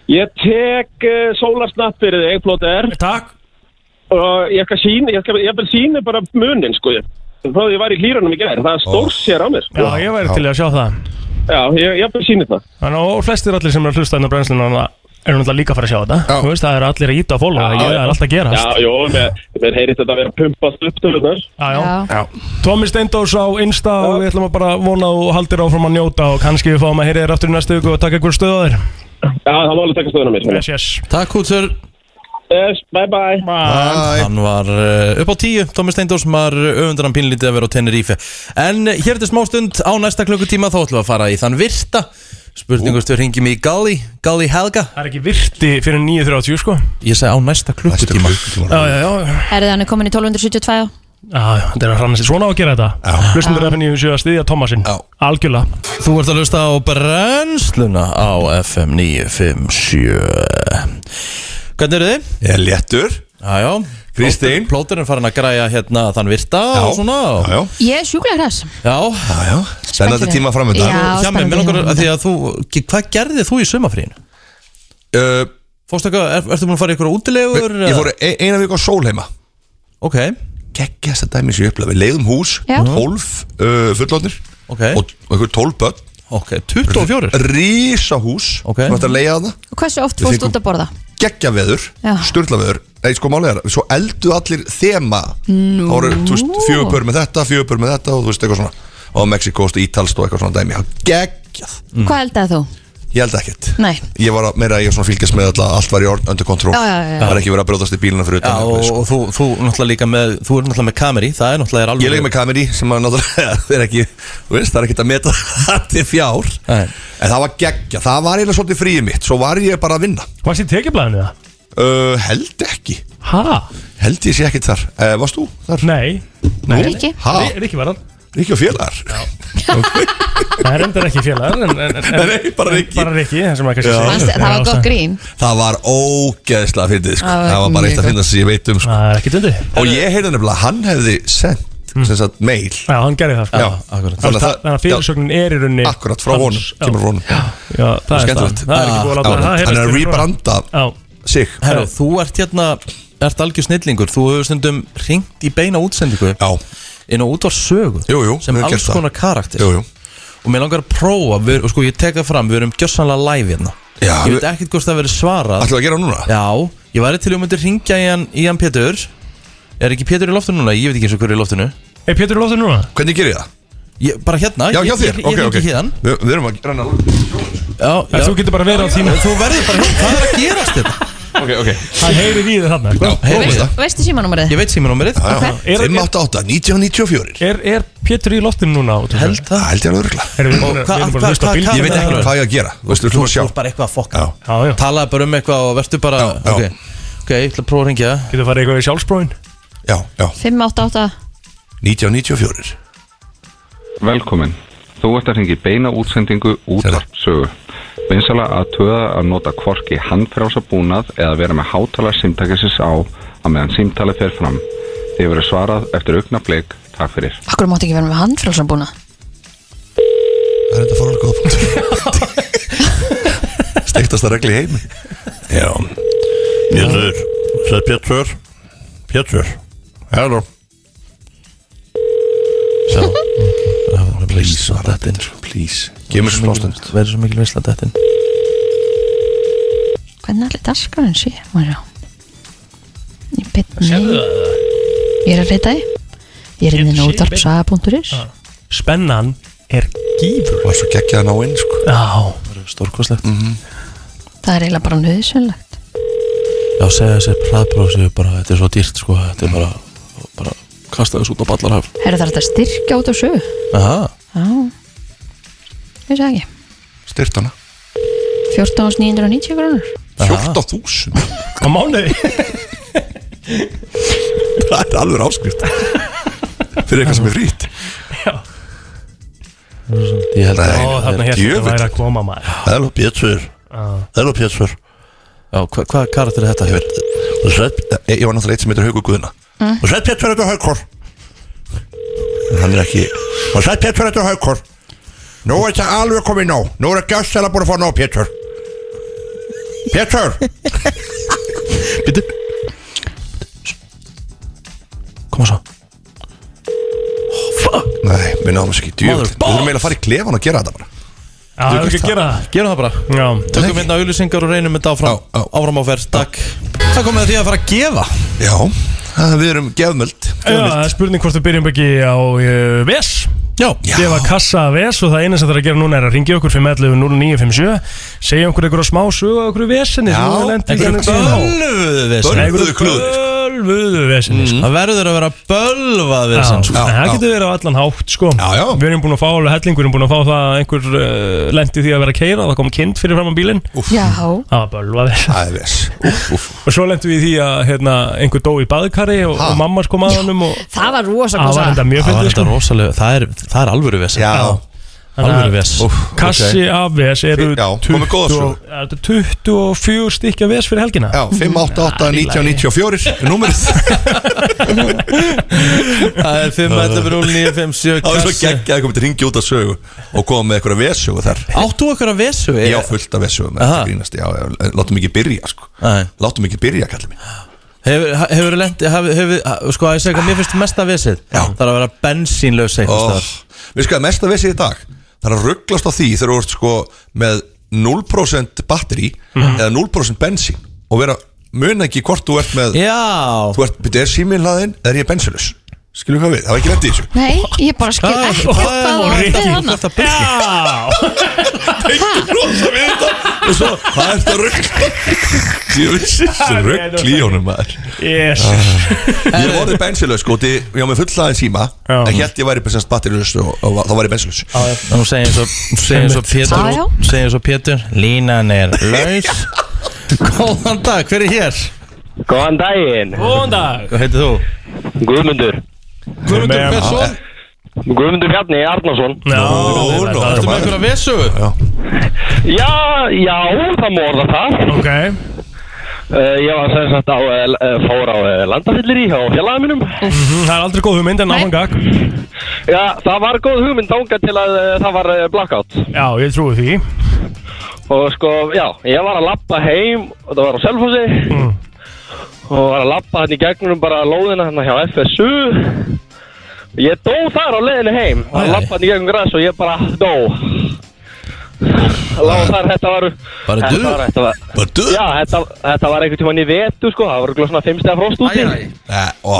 Ég tek uh, sólarsnapp fyrir þig, Plóter Takk og ég skal sína, ég skal, ég vil sína bara munin, sko ég þá ég var í hlýranum í gerð, það er stór sér á mér sko. Já, ég væri til í að sjá það Já, ég, ég vil sína það Þannig að og flestir allir sem er að hlusta inn á brennslinu eru náttúrulega líka að fara að sjá þetta Já. Þú veist, það eru allir að íta og fóla Já, það já. er alltaf að Já, gerast jó, mér, mér heyrist þetta að vera pumpast upp tölunar Já, já. Já, Tommi Steindós á Insta og við ætlum að bara vona og haldir áfram að njóta og kannski við fáum að heyra þér aftur í næstu viku og taka ykkur stöð á þér Já, það var alveg að taka stöðuna mér Yes, yes takk hútur sko. yes, Bye bye Æ, Hann var uh, upp á tíu, Tómi Steindórs sem var öfundur hann pínlítið að vera á Tenerife En uh, hér til smá stund á næsta klukkutíma þá ætlum við að fara í þann virta Spurningustu hringjum í Galli, Galli Helga Það er ekki virti fyrir 9.30 sko Ég segi á næsta klukkutíma Næsta klukkutíma. Já, já, já Herðið hann er komin í 1272 Já, þetta er að hranna sér svona á að gera þetta Hlustum þér að finna ég að styðja Tómasinn Algjörlega Þú ert að hlusta á brennsluna á FM 957 Hvernig eru þið? Ég er léttur Jájá Kristín. Plóturinn farin að græja hérna þann virta og svona og- Já, Ég er sjúklega hræs Já já, já Spennandi Spennandi. tíma framöndan Já, Hjá mig, spennandi mér langar tíma að því að þú Hvað gerðið þú í sumafrínu? uh, Fórstu eitthvað, er, ertu múin að fara í ykkur útilegur? Ég fór e- eina vik á sólheima Ok, Geggjast að dæmi sem ég upplega Við leiðum hús, Já. Mhm. 12 uh, fullónir ok, og, og einhver 12 börn ok, 24 Rísa hús Ok. Sem ætti að leiða það Og Hversu oft Við fórst fengum- út að borða? geggja veður, Já. sturla veður Nei, sko málið er, að svo eldu allir þema Nú Það voru, þú veist, fjögur pör með þetta, fjögur pör með þetta og þú veist, eitthvað svona Og Mexikost, Ítalst og eitthvað svona dæmi Já, Geggjað, Hvað eldaði þú? ég held ekkert Nei. Ég var að, meira að ég svona fylgjast með alltaf, allt var í orð, undir kontról Já, já, já. Það var ekki verið að brjóðast í bíluna fyrir Já, utan og, eitthvað, sko. og þú, þú náttúrulega líka með Þú er náttúrulega með kameri, það er náttúrulega er alveg Ég leik með kameri sem að <laughs> náttúrulega það er ekki, þú veist, það er ekkert að meta <laughs> það til fjár Nei. En það var geggja, það var eiginlega svolítið fríið mitt Svo var ég bara að vinna Hvað sé tekiblaðinu það? uh, Held ekki, Ha? held ég sé ekkert þar uh, Varst þú þar? Nei Nei Rikki? Ha? Ri- Rikki var hann Ríkja og félagar? Það er endar ekki félagar en, en, en, Nei, nei, bara en- Rikki. Bara Rikki, það sem maður Já. kannski Fannst- segir. Það var Já, gott grín Það var ógeðslega fyndið sko. Það var Það var bara mjög eitt að gott. finna sem ég veit um sko. Það er Mm. ekki dundi Og ég heyrði nefnilega að hann hefði sendt sem sagt mail Já, hann gerði það sko. Já, akkurat. Þannig að Þannig að það fyrirsögnin er í rauninni Akkurat, frá hans. honum, Já. kemur frá honum Já, það er Skemmtilegt. það Það er ekki búið að láta það Já, heyrast Hann er að fyrir frá. rebranda Já, sig Herra, þú ert hérna, ert algjör snillingur Þú hefur stundum ringt í beina útsendingu Já, Inn á útvarsögu Jú, jú, Sem við höfum alls gert það. konar karakter jú, jú Og mér langar að prófa, við, og sko ég tek það fram Við erum gjössanlega live hérna Já, Ég við- veit ekkert hvort það verið svarað Ætlum við að gera það núna? Já, ég væri til að ég myndi ringja í hann, í hann Pétur Er ekki Pétur í loftinu núna? Ég veit ekki eins og hver er í loftinu Er Pétur í loftur núna? Hvernig gerir ég það? ég, Bara hérna, Já, hjá ég, ég, þér, ég ok, ringi ok hérna Við við erum að gera hann já, En já. Þú getur bara verið á tíma Þú verður bara hérna, hvað er að gerast þetta? Ok, ok Hann heyrir í þér þarna sko. Heyrðu, Veist það? Veistu símanúmerið? Ég veit símanúmerið Já, já. Er- 588, 1994 Er, er Pétur í loftinu núna? Held Það það held ég alveg örgla Erum við búin að- Og hvað- við erum bara að hvað- hlusta á hvað- bílgjöf? hvað- Ég veit ekki hvað ég að gera Þú veist, við Þú ætlum að sjá ert bara eitthvað að fokka Já. Já, já Talaði bara um eitthvað og verður bara Já, já. Ok, ok, ég ætla að prófa að ringja Getur farið eitthvað í sjálfsbróin Já, já, 588 1994 Velkomin. Þú ert að hringi beina útsendingu útvarpsögu. Vinsala að töða að nota kvorki handfrjása búnað eða vera með hátalar símtækisins á að meðan símtali fer fram. Þið verður svarað eftir augna bleik. Takk fyrir. Akkur mátt ekki vera með handfrálsum búna Það er þetta fór alveg góða punktur <laughs> Stektast að regli heim Já Pétur Það er Pétur Pétur Hello Sjá Please, þetta er Please Give me some stund Verður svo mikil visla þetta Hvernig allir dasgráðin sé? Má sjá Ég bet nei Ég er að reyta því Ég er inn á Getur séð útvarpsaga.is Spennan er gífur Var svo geggjað að ná inn sko Já Stórkoslegt Það er eiginlega bara nöðsynlegt Já, segja þessi hraðbrósi bara, þetta er svo dýrt sko, þetta er bara, bara kasta þessu út á ballarhaf. Herra þarf þetta styrkja út á sögu Aha. Já Ég sé ekki Styrt hana 14.990 grónur 14.000 Á mánuði <laughs> Það er alveg áskrift Fyrir eitthvað sem er frýtt Ég held að, Nei. Ó, þarna hér djöfull. þetta væri að koma maður Hello Pétur Hello Pétur já, hva, hvað karakter er þetta hefur? Ég veit þú sveit- eh, Ég var náttúrulega eitt sem heitir Haukur Guðna Og sveit Pétur þetta er Haukur En Hann er ekki Og sveit Pétur þetta er Haukur Nú er þetta alveg komið nóg Nú er þetta gæstæla búin að fá nóg Pétur Pétur Býtu. Koma svo. Nei, við náðum þessu ekki djúvel Mother Við þurfum eiginlega að fara í klefan og gera þetta bara Já, það er ekki að gera Gerum það bara. það Já Tökum hérna auðlýsingar og reynum þetta áfram, Já, já. áfram á ferð, takk. Það komið að því að fara að gefa. Já, það- við erum gefmöld Já, það er spurning hvort við byrjum ekki á uh, VES Já. Gefa kassa að VES og það eina sem það er að gera núna er að ringja okkur 511 0957 Segja okkur einhverja smá sögu á okkur VES-inni Já, Einhverju bölvuðu við þessu. Bölvuðu klúður. Bölvuðu bölvuðu vesinni sko. Það verður að vera bölvað við Já, þessum sko. en það getur verið á allan hátt sko. já, já. Við erum búin að fá alveg helling Við erum búin að fá það að einhver uh, lendi því að vera að keira Það kom kind fyrir fram á bílinn Já, Það var bölvað Það er viss Og svo lendi við í því að hérna, einhver dó í baðkari Og, og mammas kom að honum og það var rosa Það góð var saga. enda mjög Það fyndið er sko. þetta rosalega Það er, það er alvöru vesen Já, Þannig að Alvöru ves Kassi af ves eru Já, komið góðar 20 sögur. og- þetta er 24 stykki af ves fyrir helgina Já, 588 1994 Númerið Það er 5, 11, 0, 9, 5, 7 Það var svo kassi. geggjað að koma til ringi út af sögu og koma með eitthvað vesögu þar Átt þú okkur að vesu? Ég á fullt af vesögu með Aha. þetta grínast Já, já, látum ekki byrja sko Nei. Látum ekki byrja, kallið mín Hefur, hefur lendi, hefur, hefur, sko að ég segja hvað mér finnst mesta vesið Já. Það er að vera bensínlaus einhvers oh, staðar Við sko, mest að vesið í dag Það er að rugglast á því þegar þú ert sko með 0% batteri Mhm. eða 0% bensín og vera mun ekki hvort þú ert með Já, Þú ert, byrja, er síminn hlaðinn eða er ég bensinlaus Skilum hvað við, það var ekki lendið í þessu Nei, ég bara skil Hvað- ekki hvað hvað er það hún var að Rikki? beða hana Þetta byrja rosa við þetta og svo, hvað er þetta rugg ég vissi <laughs> þessu rugg í honum maður Ah. Yes <laughs> ég hef orðið bensinlaus sko, því ég á með fullaðin síma Já. en hérna ég væri bensast batterilust og, og þá var ég bensinlaus Nú segir svo, segir svo Já, já. Pétur Segir svo Pétur Línan er laus Góðan dag, hver er hér? Góðan daginn, Góðan dag Hvað heitir þú? Guðmundur Guðmundur Björnsson Guðmundur Bjarni Arnason Já, Nú, nú, Ertu með einhverja vesugu? Já, já, það má orða það Ok uh, Ég var sem sagt á, uh, fór á uh, landafyllir í á fjallaða mínum Mhm, Það er aldrei góð hugmynd en Nei. áfram gag Já, það var góð hugmynd ánga til að uh, það var uh, blackout Já, ég trúi því Og sko, já, ég var að lappa heim og það var á Selfossi Mm. Og var að lappa hann í gegnum bara lóðina hann hjá FSU Ég dó þar á leiðinu heim Æ, æ. Var að lappa hann í gegnum græs og ég bara dó Lá þar, þetta var Bara þetta duð? var- Þetta var bara döð Já, þetta, þetta var einhvern tímann í vetu sko, það var örugglega svona 5 stæða frost úti. Nei, ó,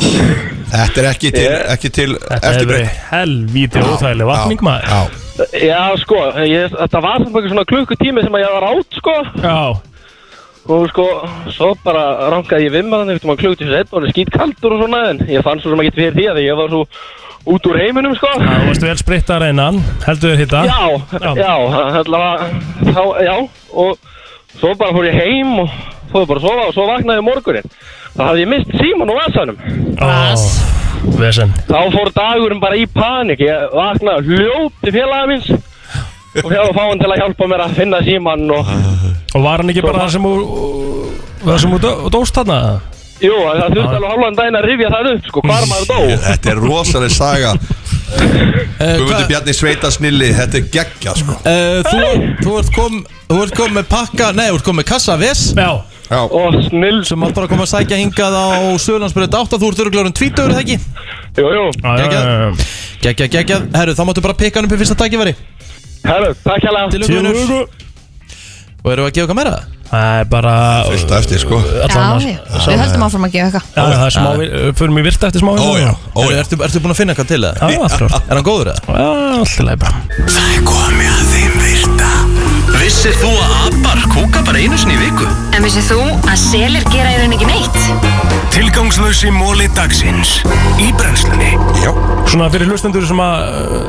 þetta er ekki til, ekki til Þetta hefur eftirbreyt verið helvíti óþægileg vatning maður Já, Já, sko, ég, þetta var samt ekki svona klukkutími sem að ég var átt sko, Já, og sko, svo bara rankaði ég við með hann einhvern tímann klukkutími sem þetta var skýt kaldur og svona, en ég fann svo sem ekki fyrir því að ég var svo út úr heiminum sko. Já, þú varst vel sprittar einan, heldur þér hitta Já, Já. já, hérna allavega, þá, já, og svo bara fór ég heim og fór bara að sofa og svo vaknaði ég morgunin. Það hafði ég mist síman og vasanum. Brass Vesen Þá fór dagurinn bara í panik Ég vaknaði hljópti félaga minns Og hefði að fá hann til að hjálpa mér að finna síman og, Og var hann ekki bara það sem úr Það sem úr dó- dóst þarna Jú, það þurfti alveg hálfan daginn að rifja það upp Sko, hvar maður dó þetta er rosalega <laughs> saga Guðmundur Bjarni Sveita Snilli Þetta er geggja sko Eh, Þú þú ert kom Þú ert kom með pakka Nei, þú ert kom með kassa ves Já, Og snill sem átt bara að koma að sækja hingað á Söðlandsbyrjut 8, þú ert öruglega um 20 eða ekki? Jú, jú, já, já, já, já. Gægjað, gægjað, herru, þá máttu bara pikka hann upp í fyrsta tækifæri herru, takk hérlega Til Til auðvunur lukku. Og erum við að gefa okkar meira? Það er bara Fyrst á eftir sko Já, já, við höldum áfram að gefa eitthvað Já, það er smá Fyrir mig virta eftir smá Ó já, ó Herru, já ertu, ertu búin að finna eitthvað til það? Já, alltaf Er hann góður það? Já, alltaf leið bara Það er komið að þeim virta Vissir þú að abar kúka bara einu sinni í viku? En vissið þú að selir gera í rauninni ekki neitt? Tilgangslösi móli dagsins Í brennslunni Svona fyrir hlustendur sem að uh,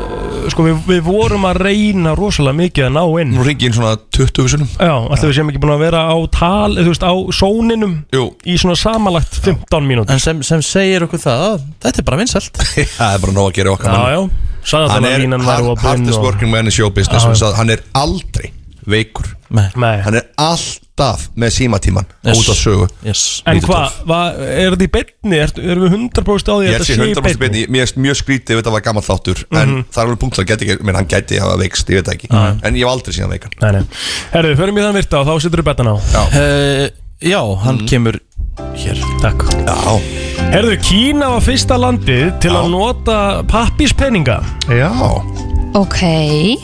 Sko, við, við vorum að reyna rosalega mikið að ná inn Nú ringi inn svona 20 sunum Já, alltaf við séum ekki búin að vera á tal eða Þú veist, á sóninum Jú. Í svona samalagt 15 mínútur En sem, sem segir okkur það, að þetta er bara <laughs> vinsælt Það er bara nóg að gera í okkar Já, já Sæða hann þannig að er línan var hard- opinn hardest og- working man in show Já, business ah, já. að, hann er aldrei veikur Nei, Nei hann er alltaf með símatíman Yes. út af sögu yes En Lítið hvað, hva, er þetta í beinni? Er, erum við 100% á því að ég þetta er sér 100% beinni, mér er mjög skrítið ef þetta var gammal þáttur Mhm. en það er alveg punkt að geti ekki, menn hann geti hafa veikst, ég veit það ekki en ég hef aldrei síðan veikan Nei, nei. Herðu, förum í þann virta og þá setur við betan á. uh, Já, hann kemur hér Takk. Mm. já, Herðu, Kína var fyrsta landið til að nota pappíspenninga. já, Ok,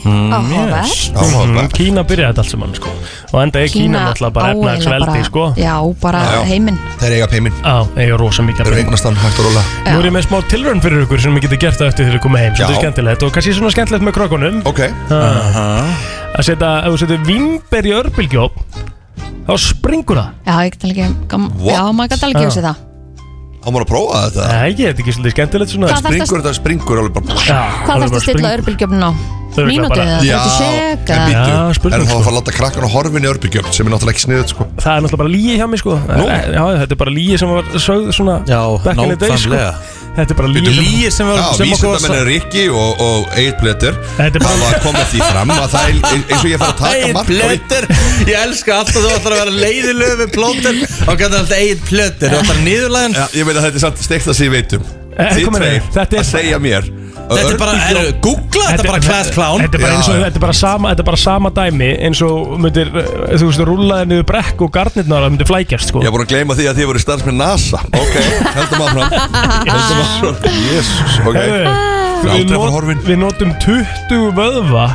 Mm, áhugavert já Mhm. Kína byrjaði þetta allt saman, sko. Og enda er Kína náttúrulega bara á eiginlega efnagsveldi, bara- sko. Já, bara Já, já. heiminn þeir eiga peimin, Á, eiga rosa mikið að þeir eru penninga. eignastan hægt og róla Nú er ég með smá tilrönd fyrir ykkur sem ég geti gert það eftir þegar ég komið heim. Svo Já. þetta er skemmtilegt og kannski svona skemmtilegt með krökkunum. ok, Að setja, ef þú setja vimber í örbylgjóp, þá springur það. Já, ég get alveg gam- What? Ah. Já, maður gæti alveg gefið sér það Hann var að prófa þetta Nei, ég þetta ekki svolítið skemmtilegt svona Hvað þarftu að- Springur þetta springur alveg bara Hvað þarfst að stilla örbylgjöfnum á? Mínútu eða 30 en seka? býtu, Já, spurning, er það að sko. fara að láta krakkan að horfin í örbyggjum sem er náttúrulega ekki sniðut sko Það er náttúrulega bara líi hjá mig sko Nú? Eh, Já, þetta er bara líi sem var sögð svona Já, back in the day, sko. nákvæmlega. Þetta er bara líi lygi sem var- Já, sem okkur var vísindamenn sagt. er Rikki og, og Egil Bletter Þetta er bara- Það var komið því fram að það er eins og ég fara að taka Egil mark á því. plötur Ég elska alltaf þú ætlar að vera leiðilöf við plóter og gæti alltaf eigin plötur og bara niðurlæðin Já, Ég veit að þetta er samt steikt að sé veitum Eh, Þið kom hérna, tveir þetta er- að segja mér Þetta er bara, er, googla þetta bara class clown Þetta er bara eins og, þetta er bara sama, þetta er bara sama dæmi eins og myndir, eh, þú veist, rúlaði niður brekk og garnirnar það myndir flækjast sko Ég er búin að gleyma því að þið voru starfsmenn NASA Ok, heldum <laughs> áfram Heldum áfram Jesus, ok Heyrðu, Aldrei að við, fara not, horfin við notum 20 vöðva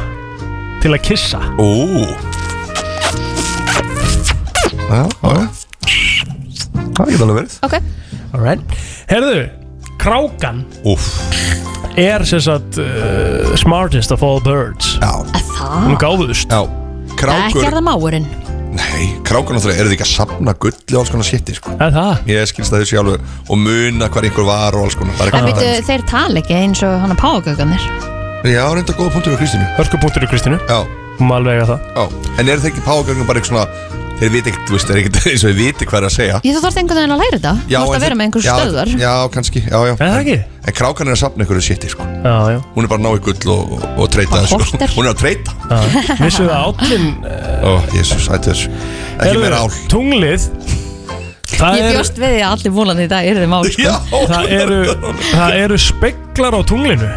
til að kissa Ó Já, já Það geta alveg verið Ok, Alright. Herðu, krákan Úff er sem sagt uh, smartest of all birds Já, Hún er gáðust <laughs> já ekki er Krákur það máurinn Nei, krákur náttúrulega eru þið ekki að safna gulli og alls konar skipti sko Það er það Ég skilst að þau sé alveg og muna hvar einhver var og alls konar Það er En eitthvað býtu, dæmi, þeir tala ekki eins og hann að págöganir sko. Já, reynda góða punktur við Kristínu Hörkupunktur í Kristínu Já, Má alveg eiga það já En eru þeir ekki págöngum bara eitthvað svona Þeir viti ekkert, þú veist, þeir eru ekkert <laughs> eins og þeir viti hvað er að segja Ég þú þarft einhvern veginn að læra þetta Þú Já, þarft en að þeir- vera með einhvers já, stöðar Já, kannski, já, já Er það ekki? En krákan er að safna einhverju shiti, sko Já, já Hún er bara að ná í gull og, og, og treyta Bara þessu sko. korter. Hún er að treyta Já. Vissu það állin Ó, jésus, þetta er ekki meira ál tunglið Það Ég eru, bjóst við því að allir múlan í dag er þið mál sko. Já, það eru, það eru speklar á tunglinu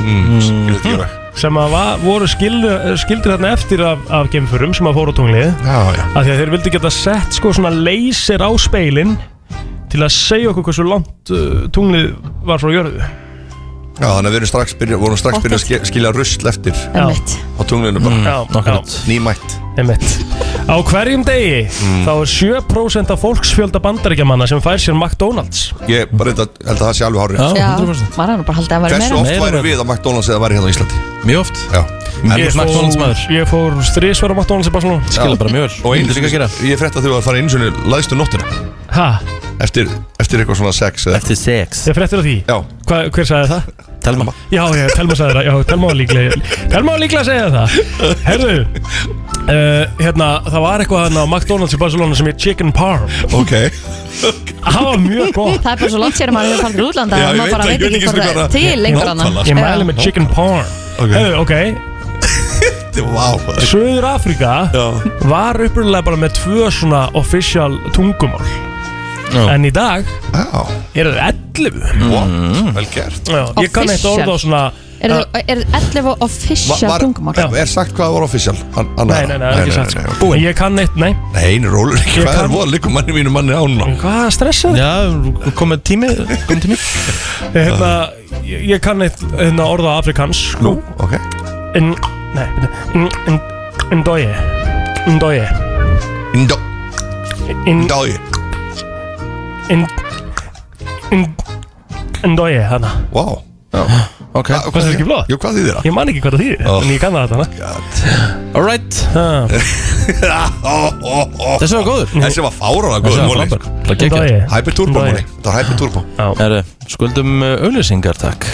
Mm. skilur þetta gera. sem að va, voru skildu, skildur þarna eftir af, af gemfurum sem að fóru á tunglið Já, já af því að þeir vildi geta sett sko svona laser á speilin til að segja okkur hversu langt uh, tunglið var frá jörðu Já, þannig að við erum strax byrja, vorum strax byrjað að ske- skilja rusl eftir Já. Einmitt. á tunglinu bara, Mm. Já, Nákvæmt nýmætt Mm. Einmitt. Á hverjum degi þá er 7% af fólksfjölda bandaríkjamanna sem fær sér McDonalds Ég bara held að held að það sé alveg hárið Já, 100%. var hann bara haldið að vera Hversu meira oft Meira væri verð. við að McDonalds eða væri hérna á Íslandi? Mjög oft Já En- Ég er svona McDonald's maður. ég fór þrísverð á McDonalds í Barcelona Skilja bara mjög vel Og einu Myndi líka sinni, gera ég frétt að þau að fara einu sinni laðstu nóttina Hæ, Eftir, eftir eitthvað svona sex eða Eftir sex þið fréttir af því? Já, Hva, hver sagði það? Telma Já, já, Telma sagði það, já, Telma var líklega Telma var líklega að segja það Herðu, uh, hérna, það var eitthvað þarna á McDonalds í Barcelona sem er Chicken Parm ok <laughs> Það var mjög gott Það er bara svo langt sér að maður hefur farið til útlanda Já, að ég maður veit bara það, veit ég veit ekki ekki hvort sem það bara- er til lengur annað Nákvæmlega. Ég mæli með Chicken Parm Ok. Herðu, ok, Þetta var wow. Suður Afrika var upprunalega bara með tvö svona official tungumál Já. En í dag Já, eru þau 11 what? Vel gert Já, Ég kann eitt Official. orð á svona Er það 11 official Ah, Var- var- tungumál? Já. Er sagt hvað var official? An Nei, nei, nei, það er ekki sagt sko. En Ég kann eitt, nei Nei, nei, rólur ekki Ég Hvað er kann- voða líkum manni mínu manni án En Hvað stressar þig? Já, komið tími Komið tími Hérna, ég ég kann eitt hérna, orð á afrikans Nú, ok En, nei, hérna, Ndoye Ndoye Indó, indói Ndoye, hana Wow Ah, Ok Hvað Fannst þetta ekki flott? Ah, Jú, hvað þýðir það? Ég man ekki hvað það þýðir, Oh. en ég kann það þarna Alright Ah. <laughs> Ó, ó, ó. <laughs> Þessi var góður Þessi var fárálega góð Þessi var móli frábær Það gekk Ndoye Hyperturbo Nei. móli Þetta var hyperturbo Herru, skuldum uh, auðlýsingar takk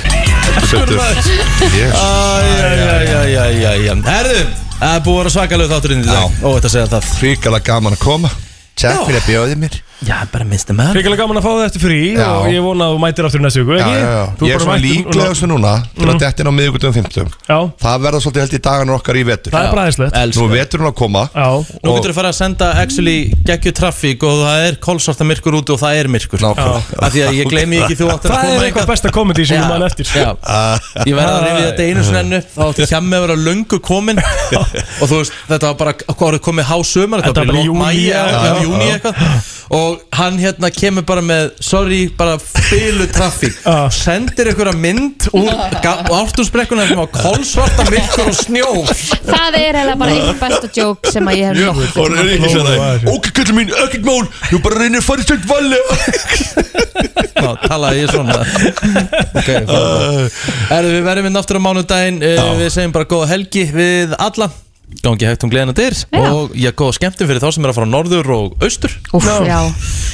Þetta er Æjæjæjæjæjæjæjæ Herru, það er búið að vera svakalög þátturinn í dag Ó, þetta segja það Ríkala gaman að koma Takk fyrir að bjóði mér Já, bara minnstu maður Hrikalega gaman að fá þetta frí Já. og ég vona að þú mætir aftur næstu viku, Já, ekki? já, já. Þú Ég er bara svona mættir- Mm. líklega þessu núna Til að detta inn á miðugundum 50 Já, Það verða svolítið held í dagarnar okkar í vetur það er bræðislegt Nú Elsku er veturinn að koma Já, Nú getur þú fara að senda actually geggju trafík og það er kolsvarta myrkur úti og það er myrkur Nákvæmlega. Af því að ég gleymi ekki þú átt að það koma er eitthvað besta komedi sem ég man eftir Já, ég verði að rifja þetta einu sinni ennu Þá átti hjá mig að vera löngu komin Og þú veist, þetta var bara Hvað var komið há sömar, Þetta var þetta var bara í lók bara í júní, mæja já, Já, já. júni eitthvað Og hann hérna kemur bara með Sorry, bara fylu trafík Já. Sendir einhverja mynd úr Ártúnsbrekkuna sem var kolsvarta myrkur og snjó Það er eiginlega bara eitt besta joke sem að ég hef nokkuð Og það er ekki Ó, sér maður. það Ok, kallum mín, ekkert mál Nú bara reynir að fara í stönd valli Já, talaði ég svona <laughs> Ok, hérna Eh, frábært. Herðu, við verðum inn aftur á mánudaginn uh, Við segjum bara góða helgi við alla gangi hægt um gleðina dyr Já. og ég góða skemmtum fyrir þá sem er að fara norður og austur Úff, já.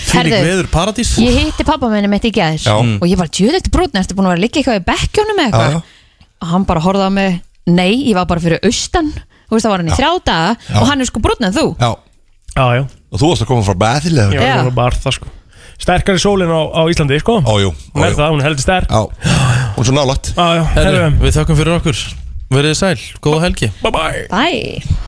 Fylík Herðu, veður paradís Ég hitti pappa minni mitt í gæðir Já. og ég var djöðlegt brútin eftir búin að vera að liggja eitthvað í bekkjónum eða Já, eitthvað og hann bara horfði á mig, nei, ég var bara fyrir austan þú veist það var hann í þrjá daga Já. og hann er sko brútin en þú Já Já, já Og þú varst að koma frá Bæðilega Já, það var bara það sko Sterkari sólin á, á Íslandi, sko Ó, jú Hún er það, hún er heldur sterk Já, hún er svo nálægt Já, já, Herru, við þökkum fyrir okkur Verðið sæl, góða helgi Bye bye Bye